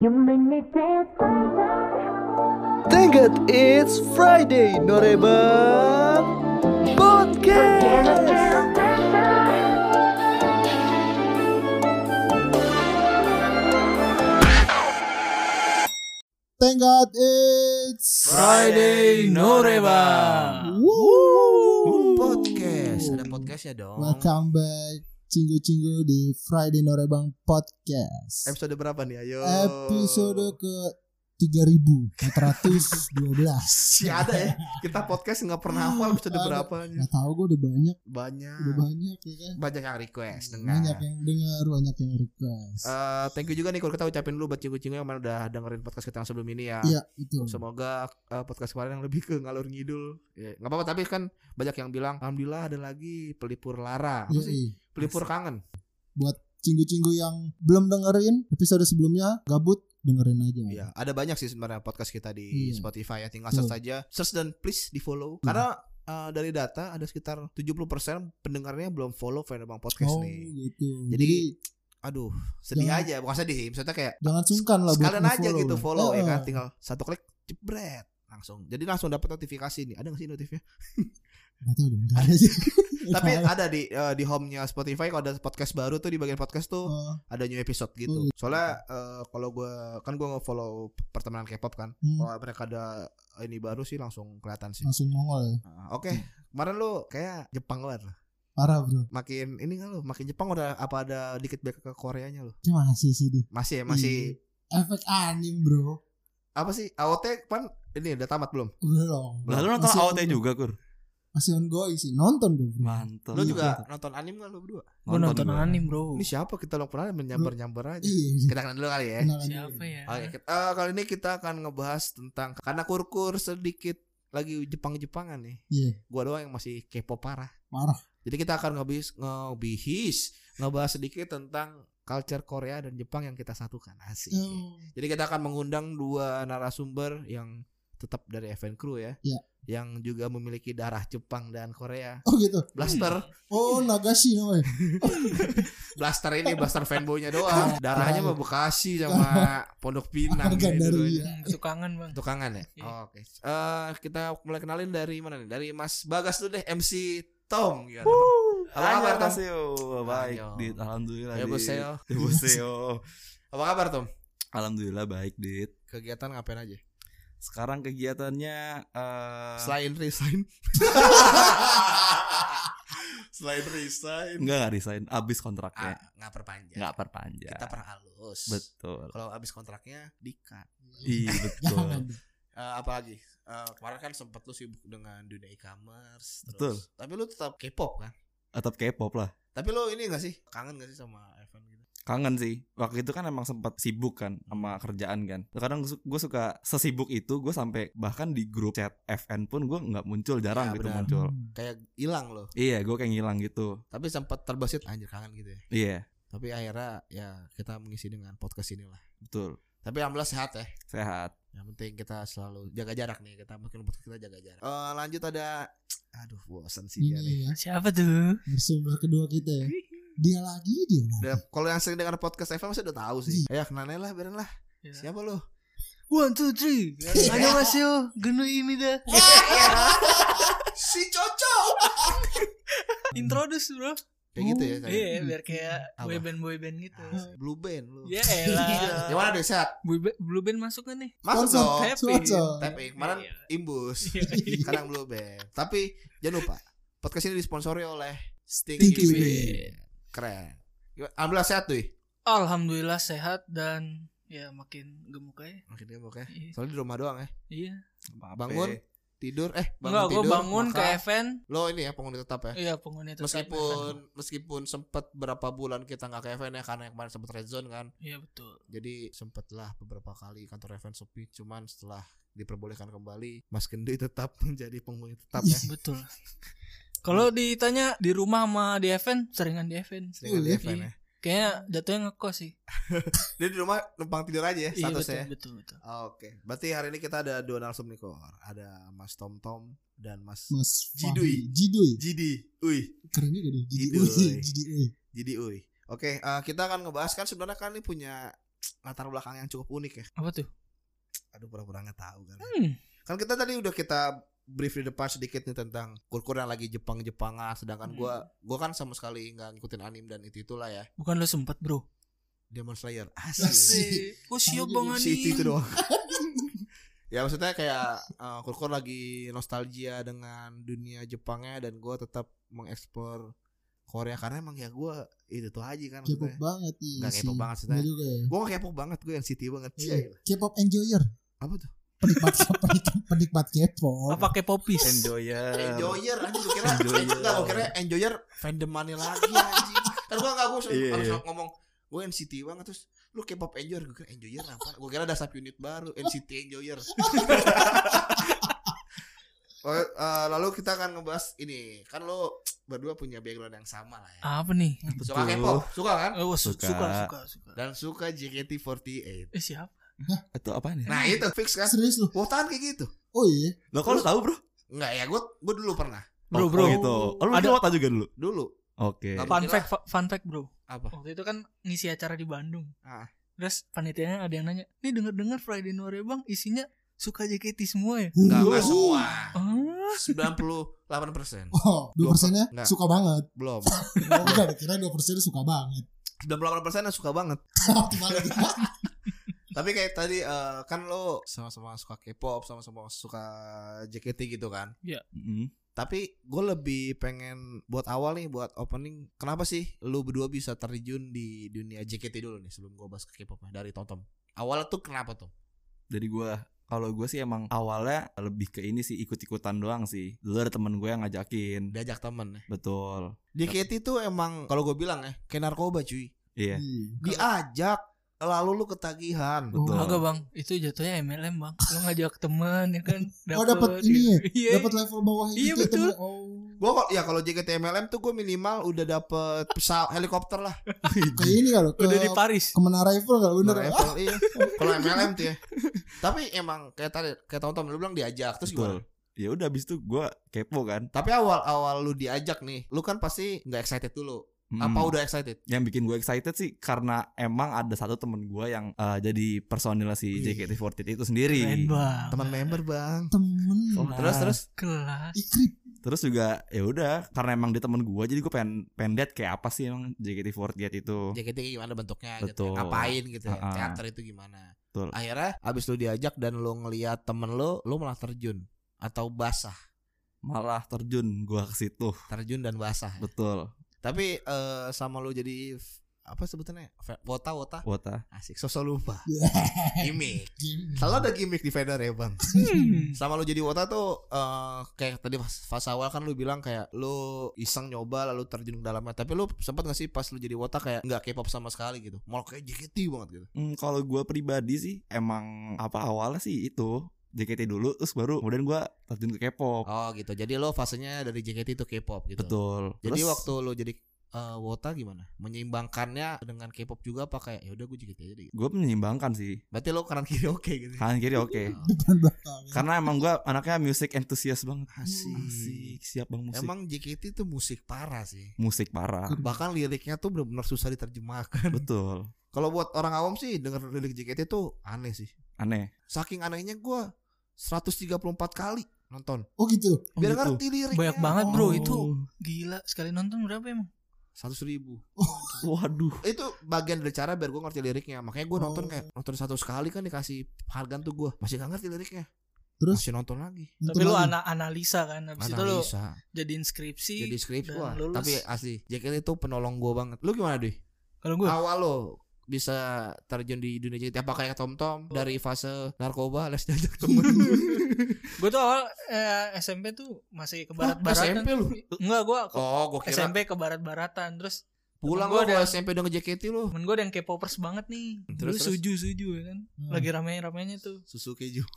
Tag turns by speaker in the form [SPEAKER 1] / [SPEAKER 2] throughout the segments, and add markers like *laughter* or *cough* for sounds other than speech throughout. [SPEAKER 1] You make me dance all night.
[SPEAKER 2] Thank God it's Friday, Noreban
[SPEAKER 1] Can I
[SPEAKER 2] Podcast.
[SPEAKER 1] feel pressure?
[SPEAKER 3] Thank God it's
[SPEAKER 2] Friday, Noreban.
[SPEAKER 3] Woo!
[SPEAKER 4] podcast ada podcastnya dong
[SPEAKER 3] Welcome back Cinggu-cinggu di Friday Norebang Podcast
[SPEAKER 4] episode berapa nih ayo
[SPEAKER 3] Episode ke 3412
[SPEAKER 4] *laughs* si ada ya kita podcast nggak pernah hafal episode
[SPEAKER 3] Ada.
[SPEAKER 4] berapa
[SPEAKER 3] Gak tau gue udah banyak Udah
[SPEAKER 4] banyak
[SPEAKER 3] banyak ya kan
[SPEAKER 4] banyak yang request
[SPEAKER 3] Banyak
[SPEAKER 4] dengar
[SPEAKER 3] yang dengar Banyak yang request
[SPEAKER 4] Eh, thank you juga nih kalau kita ucapin dulu buat cinggu-cinggu yang mana udah dengerin podcast kita yang sebelum ini ya
[SPEAKER 3] Iya itu
[SPEAKER 4] Semoga eh, podcast kemarin yang lebih ke ngalur ngidul. Ya, nggak apa-apa tapi kan banyak yang bilang alhamdulillah ada lagi pelipur lara. Apa
[SPEAKER 3] Yoi.
[SPEAKER 4] sih? Pelipur kangen.
[SPEAKER 3] Iya, Cinggu-cinggu yang belum dengerin episode sebelumnya Gabut dengerin aja
[SPEAKER 4] Iya, ada banyak sih sebenarnya podcast kita di
[SPEAKER 3] Hmm. Iya. Hmm.
[SPEAKER 4] Spotify ya. Tinggal
[SPEAKER 3] Betul.
[SPEAKER 4] search aja. Search dan please di-follow. Karena uh, dari data ada sekitar 70% pendengarnya belum follow Venomang Podcast
[SPEAKER 3] Oh
[SPEAKER 4] nih.
[SPEAKER 3] gitu
[SPEAKER 4] Jadi,
[SPEAKER 3] Jadi
[SPEAKER 4] Aduh, sedih
[SPEAKER 3] Jangan-
[SPEAKER 4] aja. Bukan sedih, maksudnya kayak
[SPEAKER 3] Jangan sungkan lah buat
[SPEAKER 4] sekalian aja
[SPEAKER 3] nge-follow.
[SPEAKER 4] gitu follow
[SPEAKER 3] Eh,
[SPEAKER 4] ya kan. Tinggal satu klik jebret langsung. Jadi langsung dapat notifikasi nih. Ada nggak sih
[SPEAKER 3] *laughs*
[SPEAKER 4] notifnya?
[SPEAKER 3] Gak tau deh, gak ada sih. *laughs*
[SPEAKER 4] Tapi
[SPEAKER 3] Gak ada.
[SPEAKER 4] ada di eh, di home-nya Spotify kalau ada podcast baru tuh di bagian podcast tuh
[SPEAKER 3] Oh,
[SPEAKER 4] ada new episode gitu.
[SPEAKER 3] Oh,
[SPEAKER 4] Soalnya eh, kalau gua kan gua nge-follow pertemanan K-pop kan.
[SPEAKER 3] hmm,
[SPEAKER 4] Kalau mereka ada ini baru sih langsung kelihatan sih.
[SPEAKER 3] langsung nongol ya.
[SPEAKER 4] Ah, Oke, kemarin lu kayak Jepang banget. lah.
[SPEAKER 3] Parah bro.
[SPEAKER 4] Makin ini kan lu, makin Jepang udah apa ada dikit back ke Koreanya lu.
[SPEAKER 3] Dia masih sih dia.
[SPEAKER 4] Masih ya, masih
[SPEAKER 3] Efek anim bro.
[SPEAKER 4] apa sih? AOT kan ini udah tamat belum?
[SPEAKER 3] Belum.
[SPEAKER 5] Lalu nonton
[SPEAKER 3] Masih-
[SPEAKER 5] AOT juga kur
[SPEAKER 3] Masih ongoing sih. Nonton gue bro.
[SPEAKER 5] Mantap
[SPEAKER 3] Iya.
[SPEAKER 4] Lu juga nonton anime kan lu berdua?
[SPEAKER 6] Gue nonton anim bro
[SPEAKER 4] Ini siapa kita lo pernah menyambar-nyambar aja.
[SPEAKER 3] Iya.
[SPEAKER 4] Kita kenalan dulu kali ya.
[SPEAKER 3] Kenalan
[SPEAKER 6] Siapa
[SPEAKER 3] dulu.
[SPEAKER 6] ya
[SPEAKER 4] Oke, kita- eh, kali ini kita akan ngebahas tentang karena kurkur sedikit lagi Jepang-Jepangan nih.
[SPEAKER 3] Iya.
[SPEAKER 4] Gua doang yang masih kepo parah.
[SPEAKER 3] Parah.
[SPEAKER 4] Jadi kita akan ngebis ngebihis ngebahas sedikit tentang culture Korea dan Jepang yang kita satukan. Asik.
[SPEAKER 3] Oh,
[SPEAKER 4] Jadi kita akan mengundang dua narasumber yang tetap dari event crew ya. Hmm.
[SPEAKER 3] Iya.
[SPEAKER 4] Yang juga memiliki darah Jepang dan Korea.
[SPEAKER 3] Oh gitu.
[SPEAKER 4] Blaster,
[SPEAKER 3] Oh Nagashi namanya.
[SPEAKER 4] Blaster ini Blaster fanboynya doang. *laughs* Darahnya mah Bekasi sama Pondok Pinang
[SPEAKER 3] Agak
[SPEAKER 4] gitu
[SPEAKER 3] dari
[SPEAKER 4] doanya.
[SPEAKER 6] Hmm, Kesukangan bang
[SPEAKER 4] Tukangan ya.
[SPEAKER 6] Iya.
[SPEAKER 4] Oh, Oke. Eh, kita mulai kenalin dari mana nih? Dari Mas Bagas dulu deh, MC Tom gimana? Apa kabar Tom?
[SPEAKER 5] Baik
[SPEAKER 4] Ayo.
[SPEAKER 5] Dit Alhamdulillah
[SPEAKER 4] Ya
[SPEAKER 5] Dit. *laughs*
[SPEAKER 4] Boseo.
[SPEAKER 5] Yoboseo.
[SPEAKER 4] Apa kabar Tom?
[SPEAKER 5] Alhamdulillah baik Dit
[SPEAKER 4] Kegiatan ngapain aja?
[SPEAKER 5] Sekarang kegiatannya eh
[SPEAKER 4] Selain resign. *laughs* Selain resign.
[SPEAKER 5] Enggak nggak resign Abis kontraknya
[SPEAKER 4] Ah, nggak perpanjang.
[SPEAKER 5] Nggak perpanjang
[SPEAKER 4] Kita pernah halus.
[SPEAKER 5] Betul
[SPEAKER 4] Kalau habis kontraknya dikat.
[SPEAKER 5] Iya betul
[SPEAKER 4] *laughs*
[SPEAKER 3] Jangan.
[SPEAKER 4] apa lagi? Eh, kemarin kan sempat lu sibuk dengan dunia e-commerce. Terus,
[SPEAKER 5] Betul.
[SPEAKER 4] Tapi lu tetap K-pop kan?
[SPEAKER 5] Tetap K-pop lah
[SPEAKER 4] Tapi lu ini gak sih kangen gak sih sama event gitu?
[SPEAKER 5] Kangen sih Waktu itu kan emang sempat sibuk kan Sama kerjaan kan Kadang gue suka Sesibuk itu Gue sampai Bahkan di grup chat FN pun Gue nggak muncul Jarang
[SPEAKER 4] Ya,
[SPEAKER 5] gitu
[SPEAKER 4] benar.
[SPEAKER 5] muncul
[SPEAKER 6] Hmm.
[SPEAKER 4] Kayak hilang loh.
[SPEAKER 5] Iya gue kayak ngilang gitu
[SPEAKER 4] Tapi sempat terbesit anjir kangen gitu ya.
[SPEAKER 5] Iya
[SPEAKER 4] Tapi akhirnya ya kita mengisi dengan podcast inilah.
[SPEAKER 5] betul
[SPEAKER 4] Tapi alhamdulillah sehat ya.
[SPEAKER 5] Sehat
[SPEAKER 4] Yang penting kita selalu jaga jarak nih. Kita mungkin buat kita jaga jarak. Eh, lanjut ada aduh bosan sih dia nih.
[SPEAKER 5] Iya.
[SPEAKER 3] Ini ya.
[SPEAKER 6] Siapa tuh
[SPEAKER 3] Narasumber kedua kita ya. Dia lagi dia lagi.
[SPEAKER 4] Udah, kalau yang sering dengar podcast FM pasti udah tahu sih.
[SPEAKER 5] Iya.
[SPEAKER 4] Ya kenalin lah, biarin lah.
[SPEAKER 6] Ya.
[SPEAKER 4] Siapa lu?
[SPEAKER 6] One two three Ayo mas yo Genu ini dah
[SPEAKER 4] si cocok.
[SPEAKER 6] Introduce bro
[SPEAKER 4] Kayak gitu ya. kayak.
[SPEAKER 6] Iya biar kayak
[SPEAKER 4] Apa?
[SPEAKER 6] boyband boyband gitu
[SPEAKER 4] Blue band lu.
[SPEAKER 6] Ya elah
[SPEAKER 4] Yang mana deh sehat?
[SPEAKER 6] Boy band- Blue band masuk kan nih
[SPEAKER 4] Masuk dong.
[SPEAKER 6] Happy.
[SPEAKER 3] Sponsor.
[SPEAKER 4] Tapi kemarin
[SPEAKER 6] Iya.
[SPEAKER 4] imbus.
[SPEAKER 6] Iya.
[SPEAKER 4] Sekarang blue band. Tapi jangan lupa podcast ini disponsori oleh Stinky,
[SPEAKER 3] Stinky
[SPEAKER 4] Bean.
[SPEAKER 3] Bean.
[SPEAKER 4] Keren. Gimana? Alhamdulillah sehat tuh.
[SPEAKER 6] Alhamdulillah sehat dan Ya makin gemuk aja
[SPEAKER 4] Makin dia oke.
[SPEAKER 6] Iya.
[SPEAKER 4] Soalnya di rumah doang ya.
[SPEAKER 6] Iya
[SPEAKER 4] Bangun, tidur eh bangun
[SPEAKER 6] Enggak gue
[SPEAKER 4] tidur.
[SPEAKER 6] bangun ke
[SPEAKER 4] makan.
[SPEAKER 6] event
[SPEAKER 4] Lo ini ya penghuni tetap ya.
[SPEAKER 6] Iya penghuni tetap event.
[SPEAKER 4] meskipun meskipun sempat berapa bulan kita nggak ke event ya karena yang kemarin sempat red zone kan
[SPEAKER 6] Iya betul
[SPEAKER 4] jadi sempatlah beberapa kali kantor event sepi cuman setelah diperbolehkan kembali Mas Kendi tetap *laughs* menjadi penghuni tetap ya
[SPEAKER 6] Betul
[SPEAKER 4] Iya.
[SPEAKER 6] *laughs* kalau ditanya di rumah sama di event, seringan di event.
[SPEAKER 4] seringan di
[SPEAKER 3] Iya.
[SPEAKER 4] event ya
[SPEAKER 6] Kayaknya jatuhnya ngekos sih.
[SPEAKER 4] dia di rumah numpang tidur aja ya statusnya ya.
[SPEAKER 6] Iya, betul, betul, betul.
[SPEAKER 4] oke berarti hari ini kita ada dua narasum nih Kor. ada Mas Tom Tom dan Mas
[SPEAKER 6] Hmm.
[SPEAKER 3] Mas
[SPEAKER 4] Jidui.
[SPEAKER 3] Fahmi. Jidui.
[SPEAKER 4] Jidi Uy
[SPEAKER 3] Keren juga deh. Jidui.
[SPEAKER 4] Jidui.
[SPEAKER 3] *laughs* Jidui.
[SPEAKER 4] Jidi Uy oke eh, kita akan ngebahas kan sebenarnya kan ini punya latar belakang yang cukup unik ya.
[SPEAKER 6] Apa tuh?
[SPEAKER 4] Aduh pura-pura nggak tahu kan.
[SPEAKER 6] Hmm.
[SPEAKER 4] Kan kita tadi udah kita brief di depan sedikit nih tentang kurkur yang lagi Jepang-Jepangan sedangkan
[SPEAKER 6] Hmm.
[SPEAKER 4] gua gua kan sama sekali nggak ngikutin anim dan itu itulah ya.
[SPEAKER 6] Bukan lo sempat bro.
[SPEAKER 4] Demon Slayer.
[SPEAKER 3] Asik.
[SPEAKER 4] Asik.
[SPEAKER 6] Oh siap
[SPEAKER 3] Jadi
[SPEAKER 6] bang
[SPEAKER 4] Iya, Si itu, itu
[SPEAKER 6] Ani.
[SPEAKER 4] doang. *laughs* ya maksudnya kayak eh, kurkur lagi nostalgia dengan dunia Jepangnya dan gua tetap mengeksplor Korea karena emang ya gua itu tuh aja kan.
[SPEAKER 3] K-pop
[SPEAKER 4] maksudnya.
[SPEAKER 3] banget iya sih.
[SPEAKER 4] Nggak K-pop banget sih,
[SPEAKER 3] Nggak juga ya.
[SPEAKER 4] Gua nggak kepo banget gue NCT banget.
[SPEAKER 3] Iya.
[SPEAKER 4] Cie.
[SPEAKER 3] K-pop enjoyer.
[SPEAKER 4] Apa tuh?
[SPEAKER 3] Penikmat *laughs* penikmat, penikmat K-pop.
[SPEAKER 6] Apa kayak Oh, popis?
[SPEAKER 5] Enjoyer.
[SPEAKER 4] Enjoyer anjing *laughs* gue kira
[SPEAKER 5] Enjoyer.
[SPEAKER 4] enggak gue kira enjoyer fandomannya lagi anjing. Kan gua enggak gua
[SPEAKER 5] Iya,
[SPEAKER 4] harus
[SPEAKER 5] iya.
[SPEAKER 4] ngomong gue NCT banget terus lu K-pop enjoyer gue kira enjoyer apa? Gue kira ada subunit baru NCT enjoyer. *laughs* Oh, eh, lalu kita akan ngebahas ini kan lo berdua punya background yang sama lah ya.
[SPEAKER 6] Apa nih?
[SPEAKER 4] Suka K-pop, suka kan?
[SPEAKER 6] Oh, su-
[SPEAKER 5] Suka.
[SPEAKER 6] suka. suka suka
[SPEAKER 4] Dan suka JKT48.
[SPEAKER 6] Eh siapa?
[SPEAKER 5] Itu apaan ya?
[SPEAKER 4] Nah itu fix kan?
[SPEAKER 3] Serius lu?
[SPEAKER 4] Wotan kayak gitu?
[SPEAKER 3] Oh iya.
[SPEAKER 5] Lo kalau tahu bro?
[SPEAKER 4] Enggak ya, gue gue dulu pernah,
[SPEAKER 6] Bro
[SPEAKER 5] Oh,
[SPEAKER 6] bro.
[SPEAKER 5] oh gitu. Oh, lu
[SPEAKER 6] Ada-
[SPEAKER 5] ada Wata juga dulu.
[SPEAKER 4] dulu
[SPEAKER 5] Oke.
[SPEAKER 4] Apa?
[SPEAKER 6] Fun fact fa- fun fact bro.
[SPEAKER 4] apa?
[SPEAKER 6] Waktu itu kan ngisi acara di Bandung.
[SPEAKER 4] Ah.
[SPEAKER 6] Terus panitianya ada yang nanya, nih denger dengar Friday Nore bang isinya suka JKT semua ya?
[SPEAKER 4] Enggak, enggak semua.
[SPEAKER 6] Ah,
[SPEAKER 4] 98 persen
[SPEAKER 3] Oh, dua persennya
[SPEAKER 4] Nggak.
[SPEAKER 3] suka banget.
[SPEAKER 4] belum.
[SPEAKER 3] Oh, enggak, kira dua persennya suka banget. *laughs*
[SPEAKER 4] 98 persen suka banget.
[SPEAKER 3] Optimal lagi.
[SPEAKER 4] Tapi kayak tadi eh, kan lo sama-sama suka K-pop, sama-sama suka JKT gitu kan.
[SPEAKER 5] Mm.
[SPEAKER 4] Tapi gue lebih pengen buat awal nih buat opening. Kenapa sih lo berdua bisa terjun di dunia JKT dulu nih sebelum gue bahas ke K-pop dari Tom Awalnya tuh kenapa tuh?
[SPEAKER 5] dari gue kalau gue sih emang awalnya lebih ke ini sih ikut-ikutan doang sih dulu ada temen gue yang ngajakin
[SPEAKER 4] Diajak temen. ya.
[SPEAKER 5] betul
[SPEAKER 4] JKT tuh emang kalau gue bilang ya kayak narkoba cuy.
[SPEAKER 5] iya
[SPEAKER 4] Diajak lalu lu ketagihan.
[SPEAKER 5] Betul.
[SPEAKER 6] Agak bang, itu jatuhnya MLM bang. Lo ngajak teman ya kan?
[SPEAKER 3] Oh, dapat ini ya?
[SPEAKER 6] *laughs* Iya.
[SPEAKER 3] Dapat level bawah
[SPEAKER 6] Iya,
[SPEAKER 3] gitu ya,
[SPEAKER 6] betul.
[SPEAKER 3] temen. Oh.
[SPEAKER 4] Gue ya kalau JKT MLM tuh gue minimal udah dapet pesawat helikopter lah.
[SPEAKER 3] Kayak ini kalau ke
[SPEAKER 6] Udah di Paris.
[SPEAKER 3] ke Menara Eiffel kalau bener.
[SPEAKER 4] Bener Apple, iya. Kalau MLM
[SPEAKER 5] *laughs*
[SPEAKER 4] tuh ya. Tapi emang kayak tadi kayak tonton lu bilang diajak terus
[SPEAKER 5] betul
[SPEAKER 4] gimana?
[SPEAKER 5] ya udah abis itu gue kepo kan
[SPEAKER 4] Tapi awal-awal lu diajak nih, lu kan pasti nggak excited dulu.
[SPEAKER 5] Mm.
[SPEAKER 4] Apa udah excited?
[SPEAKER 5] yang bikin gue excited sih karena emang ada satu temen gue yang eh, jadi personil si
[SPEAKER 4] Wih.
[SPEAKER 5] JKT48 itu sendiri
[SPEAKER 6] Keren
[SPEAKER 4] *laughs*
[SPEAKER 6] bang.
[SPEAKER 4] Teman member, Bang.
[SPEAKER 3] Temen.
[SPEAKER 5] Kelas.
[SPEAKER 4] Terus terus
[SPEAKER 6] Kelas.
[SPEAKER 3] Ikrip.
[SPEAKER 5] terus juga ya udah karena emang dia temen gue jadi gue pengen pengen lihat kayak apa sih emang JKT48 itu
[SPEAKER 4] JKT kayak gimana bentuknya gitu.
[SPEAKER 5] Betul.
[SPEAKER 4] ya. Ngapain gitu ya.
[SPEAKER 5] Ha-ha.
[SPEAKER 4] Teater itu gimana.
[SPEAKER 5] Betul.
[SPEAKER 4] Akhirnya abis lu diajak dan lu ngeliat temen lu, lu malah terjun atau basah.
[SPEAKER 5] malah terjun gue ke situ
[SPEAKER 4] Terjun dan basah. ya.
[SPEAKER 5] betul
[SPEAKER 4] Tapi eh, sama lu jadi f- apa sebutannya? Fe- Wota wota
[SPEAKER 5] Wota
[SPEAKER 4] asik sosok
[SPEAKER 5] *laughs*
[SPEAKER 4] lupa. Gimik.
[SPEAKER 3] Gini.
[SPEAKER 4] Selalu ada gimmick di Vader ya, Bang.
[SPEAKER 6] Hmm.
[SPEAKER 4] sama lu jadi wota tuh eh, kayak tadi pas, pas awal kan lu bilang kayak lu iseng nyoba lalu terjun ke dalamnya tapi lu sempat gak sih pas lu jadi wota kayak nggak K-pop sama sekali gitu malah kayak JKT banget gitu
[SPEAKER 5] Hmm, kalau gue pribadi sih emang apa awalnya sih itu JKT dulu terus baru kemudian gue terjun ke K-pop.
[SPEAKER 4] oh gitu jadi lu fasenya dari JKT itu K-pop gitu
[SPEAKER 5] Betul.
[SPEAKER 4] jadi
[SPEAKER 5] Terus,
[SPEAKER 4] waktu lu jadi eh, wota gimana menyeimbangkannya dengan K-pop juga apa kayak ya udah gue JKT aja deh gitu.
[SPEAKER 5] gue menyeimbangkan sih
[SPEAKER 4] berarti lu kanan kiri oke gitu
[SPEAKER 5] kanan kiri Kan, oke.
[SPEAKER 3] Depan belakang.
[SPEAKER 5] Karena emang gue anaknya music enthusiast banget.
[SPEAKER 4] Asik.
[SPEAKER 5] Asik, siap bang musik.
[SPEAKER 4] emang JKT itu musik parah sih
[SPEAKER 5] musik parah.
[SPEAKER 4] bahkan liriknya tuh benar-benar susah diterjemahkan
[SPEAKER 5] Betul.
[SPEAKER 4] *laughs* kalau buat orang awam sih denger lirik JKT tuh aneh sih
[SPEAKER 5] Aneh.
[SPEAKER 4] Saking anehnya gue 134 kali nonton.
[SPEAKER 3] Oh gitu.
[SPEAKER 6] Oh,
[SPEAKER 4] Biar
[SPEAKER 6] gitu.
[SPEAKER 4] ngerti liriknya.
[SPEAKER 6] Banyak banget bro
[SPEAKER 3] Oh.
[SPEAKER 6] itu gila sekali nonton berapa emang?
[SPEAKER 4] 100 ribu.
[SPEAKER 5] Waduh.
[SPEAKER 4] Itu bagian dari cara biar gue ngerti liriknya. Makanya gue nonton
[SPEAKER 3] Oh.
[SPEAKER 4] kayak nonton satu sekali kan dikasih harga tuh gue masih gak ngerti liriknya.
[SPEAKER 3] Terus?
[SPEAKER 4] masih nonton lagi.
[SPEAKER 6] Tapi lu
[SPEAKER 3] Nonton lagi.
[SPEAKER 6] ana analisa kan habis itu lu
[SPEAKER 4] Analisa.
[SPEAKER 6] jadiin skripsi.
[SPEAKER 4] Jadi skripsi
[SPEAKER 6] dan
[SPEAKER 4] wah.
[SPEAKER 6] lulus.
[SPEAKER 4] Tapi asli JKT itu penolong gue banget. Lu gimana deh?
[SPEAKER 6] Kalau gua
[SPEAKER 4] Awal lo bisa terjun di dunia JKT apa kayak Tom Tom dari fase narkoba *laughs* les diajak
[SPEAKER 6] *laughs*
[SPEAKER 4] temen
[SPEAKER 6] gua tuh awal eh, SMP tuh masih ke
[SPEAKER 4] Hah,
[SPEAKER 6] barat-baratan.
[SPEAKER 4] SMP lu?
[SPEAKER 6] Enggak gua ke-
[SPEAKER 4] oh gue kira
[SPEAKER 6] SMP ke barat-baratan terus
[SPEAKER 4] pulang lo
[SPEAKER 6] Temen gua ada-
[SPEAKER 4] SMP dengan JKT lo
[SPEAKER 6] temen gue ada yang K-popers banget nih
[SPEAKER 4] Terus,
[SPEAKER 6] terus
[SPEAKER 4] terus?
[SPEAKER 6] suju suju ya kan
[SPEAKER 3] Hmm.
[SPEAKER 6] lagi rame-ramenya tuh
[SPEAKER 4] susu keju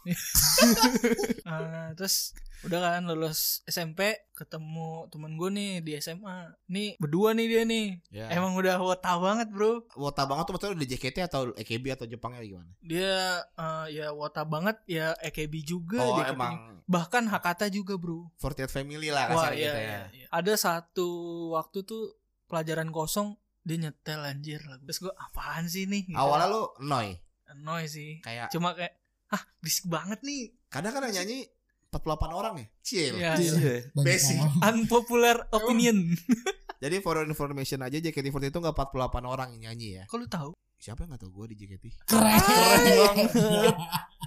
[SPEAKER 6] Ah, terus udah kan lulus SMP ketemu temen gue nih di SMA nih berdua nih dia nih
[SPEAKER 4] Ya.
[SPEAKER 6] emang udah wota banget bro
[SPEAKER 4] Wota banget tuh maksudnya udah JKT atau EKB atau Jepangnya gimana?
[SPEAKER 6] dia eh, ya wota banget ya EKB juga
[SPEAKER 4] Oh
[SPEAKER 6] JKT.
[SPEAKER 4] emang
[SPEAKER 6] bahkan Hakata juga bro
[SPEAKER 4] 48 family lah
[SPEAKER 6] wah
[SPEAKER 4] kasar
[SPEAKER 6] iya,
[SPEAKER 4] gitu ya.
[SPEAKER 6] iya, iya. ada satu waktu tuh pelajaran kosong dia nyetel anjir lagu. Terus gue apaan sih nih? Gitu.
[SPEAKER 4] Awalnya lu noy
[SPEAKER 6] Annoy sih.
[SPEAKER 4] kayak
[SPEAKER 6] Cuma kayak ah bisik banget nih.
[SPEAKER 4] kadang kan yang nyanyi 48 orang ya. Cil.
[SPEAKER 6] Ya,
[SPEAKER 3] Iya. Banyak
[SPEAKER 4] Basic.
[SPEAKER 3] orang.
[SPEAKER 6] unpopular opinion.
[SPEAKER 4] Jadi for your information aja JKT48 itu enggak 48 orang yang nyanyi ya.
[SPEAKER 6] Kok lu tahu?
[SPEAKER 4] Siapa yang enggak tahu gue di
[SPEAKER 6] *laughs*
[SPEAKER 4] JKT?
[SPEAKER 3] Keren.